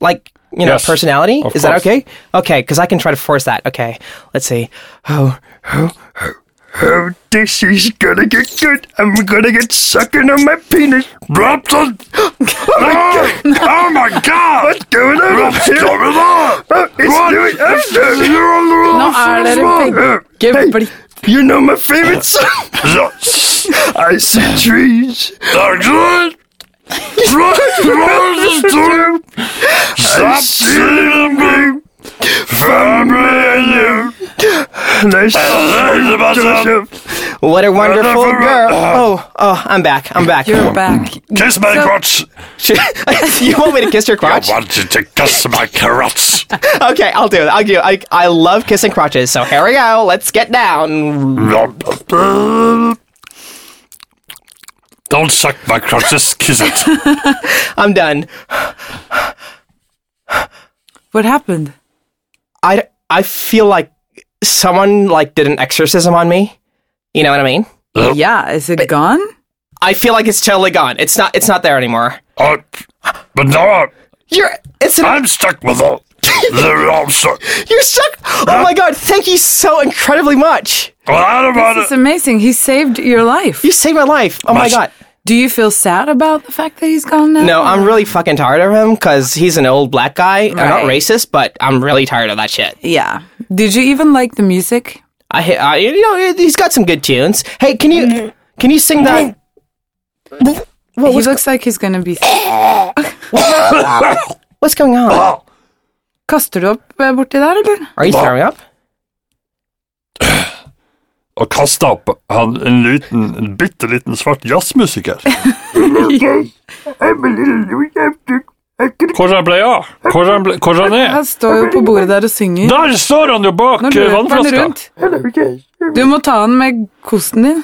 B: like you know,
C: Yes,
B: personality?
C: of
B: Is that
C: course.
B: okay? Okay, because I can try to force that. Okay, let's see. Oh,
F: Oh, this is gonna get good. I'm gonna get sucking on my penis. Robson! oh, my God. oh my god! What's going on? What's going on? Oh, it's Louis Armstrong!
A: Nå er dere begge
F: Hey.
A: blitt
F: You know my favorite song? I see trees. They're good. Stop seeing me from you. Nice to myself.
B: what a wonderful
F: Wonderful.
B: girl! Oh, oh, I'm back. I'm back.
A: You're back.
F: Kiss my
A: So-
F: crotch.
B: you want me to kiss your crotch?
F: want you to kiss my crotch.
B: Okay, I'll do it. I'll do. it. I I love kissing crotches. So here we go. Let's get down.
F: Don't suck my crotch, just kiss it.
B: I'm done.
A: What happened?
B: I I feel like someone like did an exorcism on me. You know what I mean?
A: Yeah, is it gone?
B: I feel like it's totally gone. It's not. It's not there anymore.
F: Oh, but now I'm-
B: You're. It's an
F: I'm stuck with all the I'm stuck.
B: You're stuck. Oh my god! Thank you so incredibly much.
F: Well, I don't want
A: It's
F: to.
A: amazing. He saved your life.
B: You saved my life. Oh my
F: Must-
B: god.
A: Do you feel sad about the fact that he's gone now?
B: No, I'm really fucking tired of him because he's an old black guy. I'm not
A: Right.
B: racist, but I'm really tired of that shit.
A: Yeah. Did you even like the music?
B: I, hate- I you know, he's got some good tunes. Hey, can you can you sing that?
A: he looks like he's gonna be
B: Eh. What's going on?
A: Kaster du opp eh, borti der, eller?
B: Are you throwing up?
F: Å kaste opp han, en liten, en bitte liten svart jazzmusiker.
C: Hvordan ble jeg? Hvordan, ble, hvordan er jeg?
A: Han står jo på bordet der og synger.
C: Der står han jo bak
A: Nå
C: eh,
A: løper han
C: vannflaska.
A: rundt. Du må ta han med kosten din.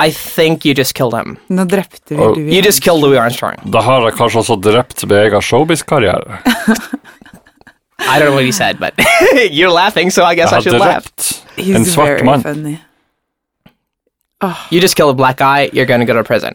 B: I think you just killed him.
A: Nå drepte vi
C: Oh,
A: Louis.
B: You just killed Louis Armstrong.
C: Da har jeg kanskje også drept min egen showbiz-karriere.
B: I don't know what he said, but you're laughing, so I guess
C: Jeg
B: I,
C: har
B: should laugh.
C: drept
A: He's
C: en svart
A: very
C: mann.
A: funny.
B: You just killed a black guy. You're gonna go to prison.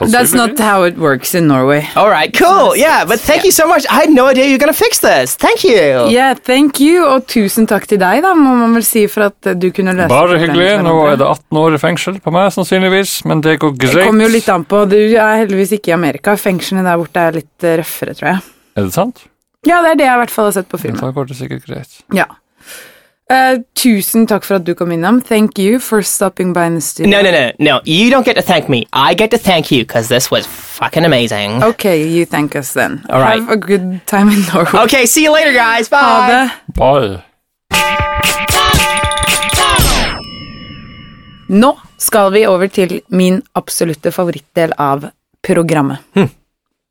A: That's not how it works in Norway.
B: All right, cool. Yeah, but thank you so much. I had no idea you were gonna fix this. Thank you.
A: Yeah, thank you, og tusen takk til deg, da, må man vel si, for at eh, du kunne løse
C: Bare
A: problemet
C: hyggelig.
A: for
C: Nå
A: hverandre.
C: er det 18 år i fengsel på meg, sannsynligvis, men det går
A: Det kommer jo
C: greit.
A: litt an på. Du er heldigvis ikke i Amerika. Fengslene der borte er litt eh, røffere, tror jeg.
C: Er det sant?
A: Ja, det er det jeg i hvert fall har sett på filmen.
C: Da går det sikkert greit.
A: Ja. Eh, tusen takk for at du kom innom. Thank you for stopping by in the studio.
B: No, no, no, no. You don't get to thank me. I get to thank you because this was fucking amazing.
A: Okay, you thank us then.
B: All right.
A: Have a good time in Norway.
B: Okay, see you later, guys.
A: Ha
B: Oh. Bye.
A: det.
C: Bare
A: Nå skal vi over til min absolutte favorittdel av programmet.
B: Hm.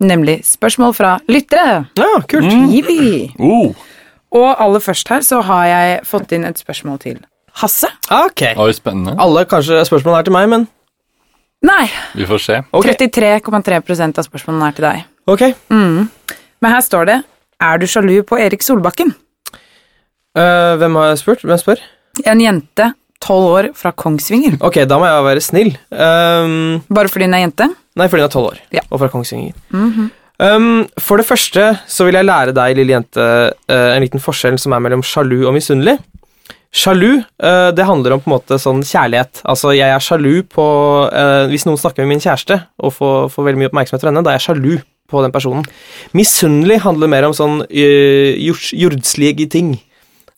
A: Nemlig spørsmål fra lyttere.
B: Oh, cool.
A: Mm. Yippee.
C: oh.
A: Og aller først her så har jeg fått inn et spørsmål til Hasse.
B: Okay.
C: Oi, spennende.
B: Alle kanskje spørsmål er til meg, men
A: Nei,
C: Vi får se.
B: Ok.
A: 33,3 av spørsmålene er til deg.
B: Ok.
A: Men her står det Er du sjalu på Erik Solbakken?
B: Eh, hvem har jeg spurt? Hvem spør?
A: En jente, 12 år, fra Kongsvinger.
B: Ok, da må jeg være snill. Ehm,
A: Bare fordi hun er jente?
B: nei, fordi hun er tolv år
A: Ja.
B: og fra Kongsvinger. Um, for det første så vil jeg lære deg, lille jente, eh, en liten forskjell som er mellom sjalu og misunnelig. Sjalu, eh, det handler om på en måte sånn kjærlighet. Altså, jeg er sjalu på eh, Hvis noen snakker med min kjæreste og får, får veldig mye oppmerksomhet fra henne, da er jeg sjalu på den personen. Misunnelig handler mer om sånn eh, jords- jordslige ting.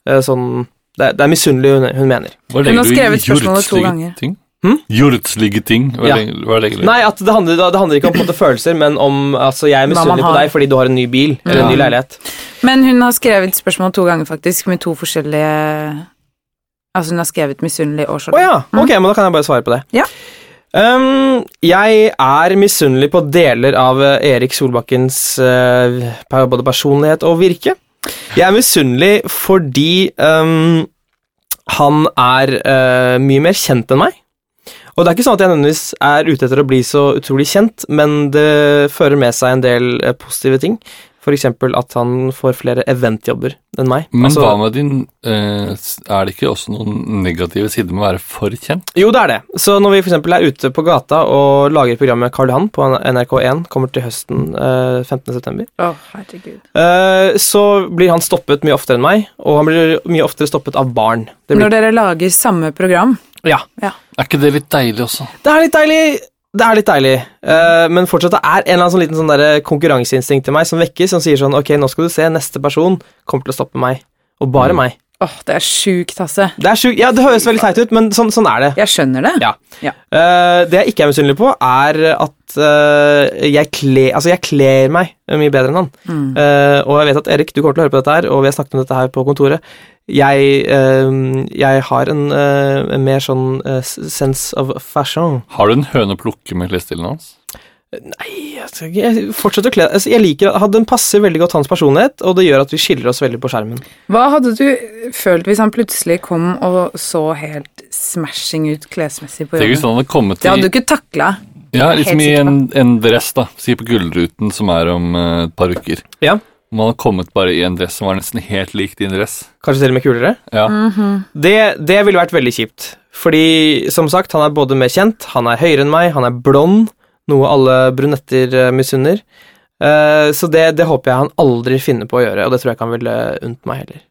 B: Eh, sånn Det er, det er misunnelig hun, hun mener.
C: Hva
A: Hun har
C: legger du i
A: skrevet spørsmålet to
C: jordslige
A: ganger.
C: ting?
B: Hm?
C: Jordslige ting? Hva,
B: Ja.
C: legger, hva legger du i?
B: Nei, at det handler, det handler ikke om på en måte følelser, men om altså, jeg er
A: man
B: misunnelig på
A: har.
B: deg fordi du har en ny bil eller en ny
C: Ja.
B: leilighet.
A: Men hun har skrevet spørsmål to ganger, faktisk, med to forskjellige Altså, hun har skrevet misunnelig og sjalu.
B: Å ja, ok, men da kan jeg bare svare på det.
A: Ja.
B: Um, jeg er misunnelig på deler av eh, Erik Solbakkens eh, per- både personlighet og virke. Jeg er misunnelig fordi um, han er eh, mye mer kjent enn meg. Og det er ikke sånn at jeg nødvendigvis er ute etter å bli så utrolig kjent, men det fører med seg en del eh, positive ting. For eksempel at han får flere eventjobber enn meg.
C: Men
B: Altså-
C: hva med din eh, s- Er det ikke også noen negative sider med å være for kjent?
B: Jo, det er det. Så når vi f.eks. er ute på gata og lager programmet Karl Johan på NRK1, kommer til høsten eh, 15.9.,
A: Å, herregud.
B: eh, så blir han stoppet mye oftere enn meg, og han blir mye oftere stoppet av barn. Det,
A: Når
B: blir,
A: dere lager samme program
B: ja.
C: Er ikke det litt deilig også?
B: det er litt deilig! Det er litt deilig, eh, men fortsatt det er en eller annen sånn liten sånn der konkurranseinstinkt til meg som vekkes, som sier sånn Ok, nå skal du se, neste person kommer til å stoppe meg. Og bare meg.
A: Åh, det er sjukt, Hasse.
B: Det er sjukt. Ja, det høres veldig teit ut, men sånn, sånn er det.
A: Jeg skjønner det.
B: Ja.
A: Ja.
B: Eh, det jeg ikke er misunnelig på, er at eh, jeg kler Altså, jeg kler meg mye bedre enn han.
A: Mm.
B: Eh, og jeg vet at Erik, du kommer til å høre på dette her, og vi har snakket om dette her på kontoret. Jeg, eh, jeg har en eh, en mer sånn eh, s- sense of fashion.
C: Har du en høne å plukke med klesstilen hans?
B: Jeg, skal ikke- jeg fortsetter å kle altså, Jeg liker at Den passer veldig godt hans personlighet, og det gjør at vi skiller oss veldig på skjermen.
A: Hva hadde du følt hvis han plutselig kom og så helt smashing ut klesmessig på
C: Tenk hvis
A: jobben?
C: han hadde kommet
A: Det hadde
C: i
A: du ikke takla.
C: Ja, liksom
A: Helt
C: i
A: sikker på.
C: en, en dress, da. Si på Gullruten, som er om eh, et par uker.
B: Ja.
C: Om han hadde kommet bare i en dress som var nesten helt lik din dress.
B: Kanskje til og med kulere.
C: Ja.
A: Mhm.
B: Det, det ville vært veldig kjipt. Fordi, som sagt, han er både mer kjent, han er høyere enn meg, han er blond, noe alle brunetter eh, misunner. Eh, så det, det håper jeg han aldri finner på å gjøre, og det tror jeg ikke han ville unnt meg heller.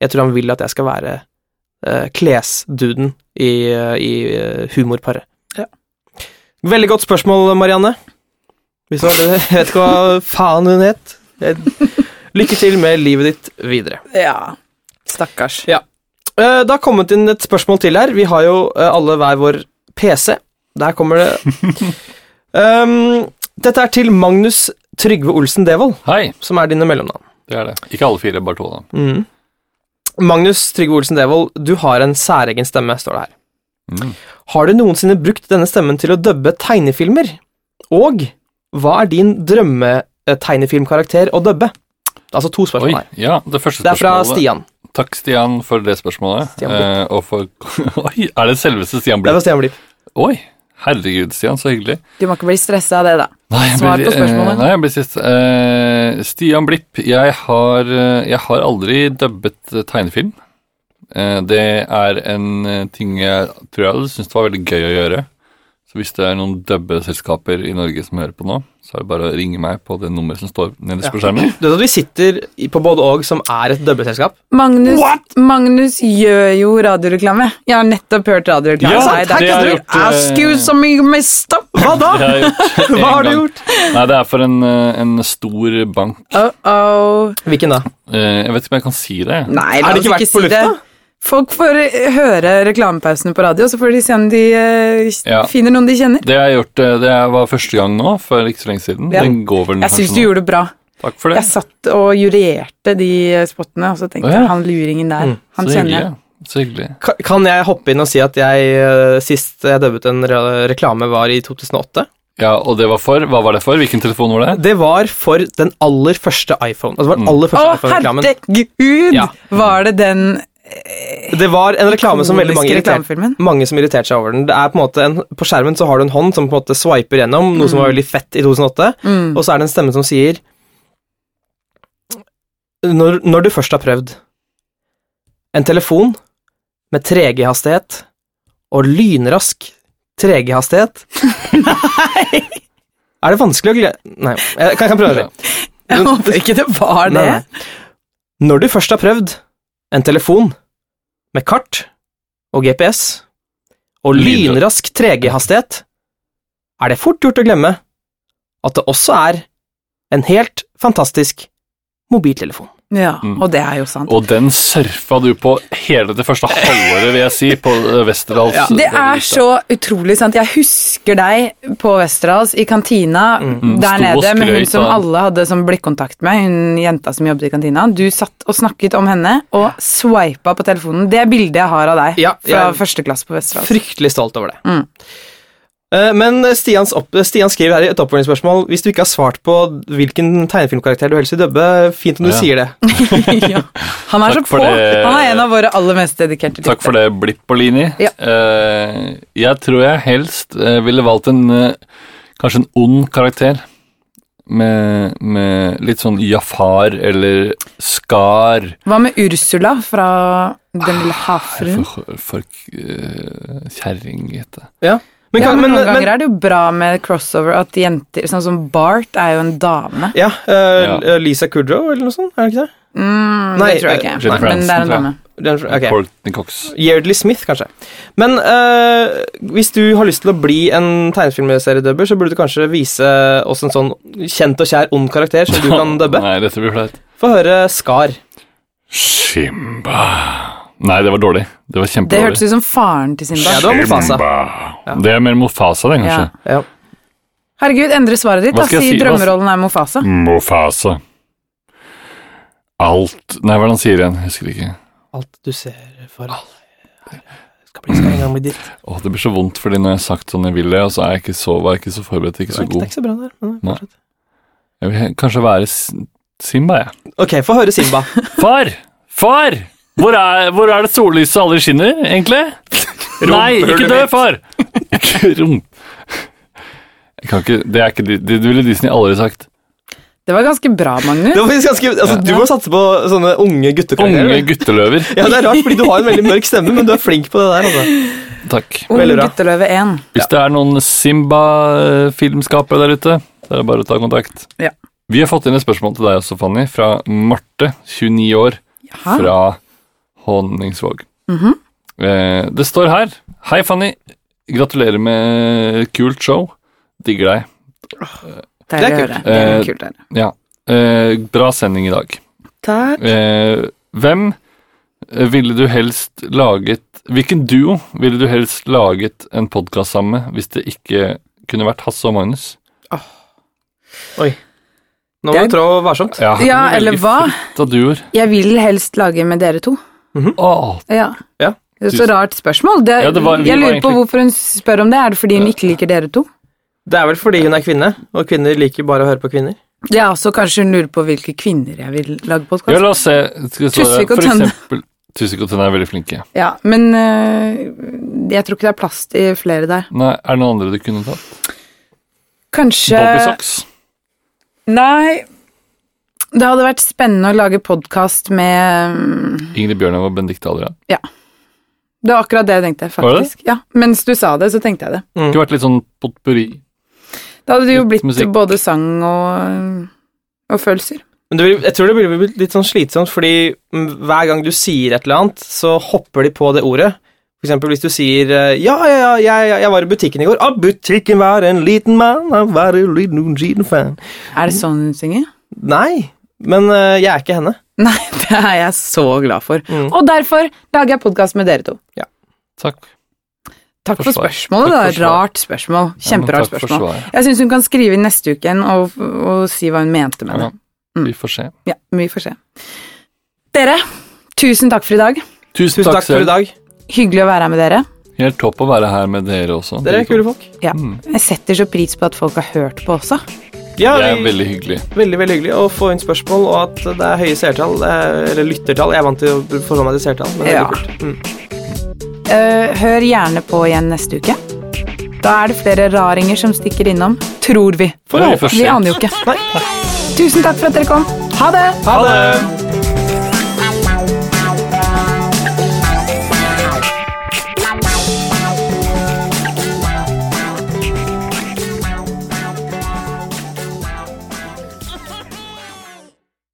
B: Jeg tror han vil at jeg skal være eh, klesduden i, eh, i eh, humorparet. Veldig godt spørsmål, Marianne. Hvis du har det, jeg vet ikke hva faen hun het. Jeg- Lykke til med livet ditt videre.
A: Ja. Stakkars.
B: Eh, Det har kommet inn et spørsmål til her. Vi har jo eh, alle hver vår PC. Der kommer det um, Dette er til Magnus Trygve Olsen Devold,
C: Hei!
B: som er dine mellomnavn.
C: Det er det. Ikke alle fire, bare to av dem.
B: Mhm. Magnus Trygve Olsen Devold, du har en særegen stemme, står det her.
C: Mm.
B: Har du noensinne brukt denne stemmen til å dubbe tegnefilmer? Og hva er din drømmetegnefilmkarakter å dubbe? Altså to
C: Oi,
B: spørsmål her.
C: ja, det første
B: Det er fra
C: spørsmålet.
B: Stian.
C: Takk, Stian, for det spørsmålet.
B: Stian Blipp.
C: Eh, og for Oi, er det selveste
B: Det
C: Stian
B: er
C: Blipp?
B: fra Stian Blipp.
C: Oi! Herregud, Stian, så hyggelig.
A: Du må ikke bli stressa av det, da.
C: Nei, jeg
A: Svar
C: blir-
A: på spørsmålet.
C: eh, Nei, jeg blir sist. Eh, Stian Blipp, jeg har, eh, jeg har aldri dubbet eh, tegnefilm. Eh, det er en eh, ting jeg tror jeg hadde syntes det var veldig gøy å gjøre. Så hvis det er noen dubbeselskaper i Norge som hører på nå, så er det bare å ringe meg på det nummeret som står nederst på skjermen.
B: Du vet at vi sitter i- på både og som er et dubbeselskap?
A: Magnus, Magnus gjør jo radioreklame. Jeg har nettopp hørt radioreklame.
C: Ja,
A: Nei,
C: sant, det
A: ikke
C: har
A: du.
C: jeg gjort, eh,
A: Ask you so you messed up.
B: Hva da?
C: Det har jeg gjort en
B: Hva har du
C: gang.
B: gjort?
C: Nei, det er for en, eh, en stor bank.
A: Oh, oh.
B: Hvilken da?
C: Eh, jeg vet ikke om jeg kan si det.
A: Nei,
B: Er
A: la
B: det
A: oss ikke
B: ikke vært på
A: si det.
B: lufta?
A: Folk får eh, høre reklamepausene på radio, så får de se om de eh,
C: Ja.
A: finner noen de kjenner.
C: Det jeg har gjort, eh, det var første gang nå, for ikke så lenge siden.
A: Ja.
C: Den går vel
A: Jeg syns
C: kanskje
A: du
C: nå.
A: gjorde det bra.
C: Takk for det.
A: Jeg satt og jurerte de eh, spottene, og så tenkte
C: Å, ja.
A: jeg han luringen der,
B: Mm.
A: han
C: så
A: kjenner jeg.
C: hyggelig. Så hyggelig.
B: Ka- Kan jeg hoppe inn og si at jeg eh, sist jeg dubbet en re reklame, var i 2008?
C: Ja, og det var for? Hva var det for? Hvilken telefon var det?
B: Det var for den aller første iPhone. Altså, det var den aller
A: Å,
B: første iPhone-reklamen.
A: herregud!
B: Ja.
A: Var det den
B: Det var en reklame som veldig mange
A: ikoniske
B: irriterte,
A: reklamefilmen?
B: mange som irriterte seg over den. Det er på en måte en, På skjermen så har du en hånd som på en måte swiper gjennom, noe som var veldig fett i 2008,
A: Mm.
B: og så er det en stemme som sier når, når du først har prøvd en telefon med 3G-hastighet og lynrask 3G-hastighet Er det vanskelig å glede Nei, jeg kan, jeg kan prøve det.
A: Jeg håper ikke det var det.
B: Nei, nei. Når du først har prøvd en telefon med kart og GPS og
C: Lynra-
B: lynrask 3G-hastighet, er det fort gjort å glemme at det også er en helt fantastisk mobiltelefon.
A: Ja,
B: Mm.
A: og det er jo sant.
C: Og den surfa du på hele det første halvåret, vil jeg si, på eh, Westerdals.
A: Det er så utrolig sant. Jeg husker deg på Westerdals, i kantina der
C: Mm, Sto og
A: nede med hun
C: skrøt
A: som
C: av-
A: alle hadde som blikkontakt med, hun jenta som jobbet i kantina. Du satt og snakket om henne og swipet på telefonen. Det er bildet jeg Mm. har av deg
B: Ja,
A: fra
B: jeg-
A: første klasse på Westerdals.
B: Fryktelig stolt over det. Eh, Men Stians, opp, Stian skriver her i et oppfølgingsspørsmål Hvis du ikke har svart på hvilken tegnefilmkarakter du helst vil dubbe, fint om du
C: Ja.
B: sier det.
A: ja. Han er
C: Takk
A: så
C: for
A: på.
C: det.
A: Han er en av våre aller mest dedikerte
C: Takk for det, Blippolini.
A: Ja.
C: Eh, jeg tror jeg helst eh, ville valgt en eh, kanskje en ond karakter. Med, med litt sånn Jafar eller Skar.
A: Hva med Ursula fra Den lille havfruen?
C: For, for eh, kjerring, heter det.
B: Ja. Men,
A: Ja,
B: kan,
A: men
B: men,
A: noen
B: men,
A: ganger er det jo bra med crossover at jenter Sånn som Bart er jo en dame.
B: ja, eh,
C: Ja.
B: eh, Lisa Kudrow eller noe sånt, er det ikke det?
A: Mm,
B: Nei,
A: det tror jeg
B: eh,
A: ikke.
C: Jennifer
A: men det
C: Aniston,
A: er en
C: tror jeg.
A: dame.
B: Den, ok.
C: Courtney Cox.
B: Yeardley Smith, kanskje. Men eh, hvis du har lyst til å bli en tegnefilmseriedubber, så burde du kanskje vise oss en sånn kjent og kjær ond karakter som du kan dubbe.
C: Nei, dette blir flaut.
B: Få høre Skar.
C: Simba Nei, det var dårlig. Det var
A: Det
C: kjempedårlig.
A: hørtes ut som faren til
B: Ja,
A: Simba.
B: det var
C: altså.
B: Mufasa.
C: Det er mer Mofasa, det,
A: Ja.
C: kanskje.
B: Ja.
A: Herregud, endre svaret ditt.
C: Hva
A: Da
C: skal jeg
A: si
C: si? Hva-
A: drømmerollen er Mofasa.
C: Mofasa. Alt Nei, hva er det han sier igjen? Jeg husker ikke.
B: Alt du ser for alle skal bli skal en gang bli ditt.
C: Åh, det blir så vondt, fordi når jeg har sagt sånn jeg vil det, og så er jeg ikke så, var jeg ikke så forberedt, ikke
B: Det er
C: så
B: ikke- det er
C: god.
B: ikke så bra der. men
C: Nei.
B: fortsett.
C: Jeg vil he- kanskje være S- Simba, jeg.
B: Ok, få høre Simba.
C: Far! Far! Hvor er, hvor er det sollyset aldri skinner, egentlig? Nei, ikke dø, far! Ikke rom... Jeg kan ikke, det er ikke, Di- det ville Disney aldri sagt.
A: Det var ganske bra,
B: Det
A: Magnus.
B: var faktisk ganske, altså, du må satse på sånne unge guttekarakterer.
C: Unge gutteløver.
B: Ja, det er rart, fordi du har en veldig mørk stemme, men du er flink på det der. Altså.
C: Takk.
A: Ung
B: veldig bra.
A: gutteløve 1.
C: Hvis det er noen Simba-filmskapere der ute, så er det bare å ta kontakt.
A: Ja.
C: Vi har fått inn et spørsmål til deg også, Fanny, fra Marte, 29 år,
A: Hæ?
C: fra Honningsvåg.
A: Mhm.
C: eh, det står her Hei, Fanny. Gratulerer med kult show. Digger deg.
A: Det er
B: kult.
A: kult. Det er
C: Eh,
A: kult der.
C: Ja. Eh, bra sending i dag.
A: Takk.
C: Eh, hvem ville du helst laget Hvilken duo ville du helst laget en podkast sammen med hvis det ikke kunne vært Hasse og Magnus?
B: Nå må
A: Det er-
B: du trå varsomt.
C: Ja,
A: Ja,
C: du velger
A: eller hva?
C: fullt Av duoer.
A: Jeg vil helst lage med dere to.
C: Åh,
A: Ja.
B: Ja.
A: Det er så rart spørsmål. Det,
C: Ja, det var- vi
A: jeg
C: var
A: lurer på
C: egentlig-
A: hvorfor hun spør om det. Er det fordi hun ikke liker dere to?
B: Det er vel fordi hun er kvinne, og kvinner liker bare å høre på kvinner.
A: Ja, så kanskje hun lurer på hvilke kvinner jeg vil lage
C: Ja,
A: podkast
C: la oss se. Skal vi se
A: Tusvik og
C: for
A: Tønne.
C: eksempel- Tusvik og Tønne er veldig flinke.
A: Ja, men øh, jeg tror ikke det er plass til flere der.
C: Nei, Er det noen andre du kunne tatt?
A: Kanskje
C: Bobby Socks?
A: Nei. Det hadde vært spennende å lage podkast med mm,
C: Ingrid Bjørnøy og Benedicte Adrian?
A: Det var akkurat det jeg tenkte,
C: Var det?
A: faktisk. Ja, Mens du sa det, så tenkte jeg det.
C: Det kunne vært litt sånn potpurri.
A: Da hadde det jo
C: Litt
A: blitt
C: musikk.
A: både sang og, mm, og følelser.
B: Men det blir, jeg tror det blir litt sånn slitsomt, fordi mm, hver gang du sier et eller annet, så hopper de på det ordet. For eksempel hvis du sier eh, ja, ja, ja, jeg, jeg- jeg var i butikken i går. Ah, butikken var en liten mann, han var en liten liten fan.
A: Er det sånn hun synger?
B: Nei, men eh, jeg er ikke henne.
A: Nei, det er jeg så glad for.
B: Mm.
A: Og derfor lager jeg podkast med dere to.
C: Takk.
A: Takk for,
C: For svar.
A: spørsmålet.
C: Takk
A: da.
C: for svar.
A: Rart spørsmål. Kjemperart
C: Ja, men takk for
A: spørsmål.
C: svaret.
A: Jeg syns hun kan skrive inn neste uke igjen og, og si hva hun mente med
C: Ja,
A: det.
C: vi får se.
A: Ja, men Vi får se. Dere, tusen takk for i dag.
B: Tusen
C: Tusen, takk,
B: takk for i
C: selv.
B: dag.
A: Hyggelig å være her med dere.
C: Helt topp å være her med dere også. Mm.
B: Dere er kule folk.
A: Ja. Jeg setter så pris på at folk har hørt på også.
B: Ja,
C: Det er
B: vi-
C: veldig hyggelig.
B: Veldig veldig hyggelig å få inn spørsmål, og at det er høye seertall. det er- Eller lyttertall. Jeg er vant til å forholde meg til seertall. Men det er
A: Ja.
B: veldig kult. Mm.
A: Eh, Hør gjerne på igjen neste uke. Da er det flere raringer som stikker innom. Tror vi.
C: Det er vi får
A: Vi
C: se.
A: aner jo ikke. Tusen takk for at dere kom. Ha det!
B: Ha det!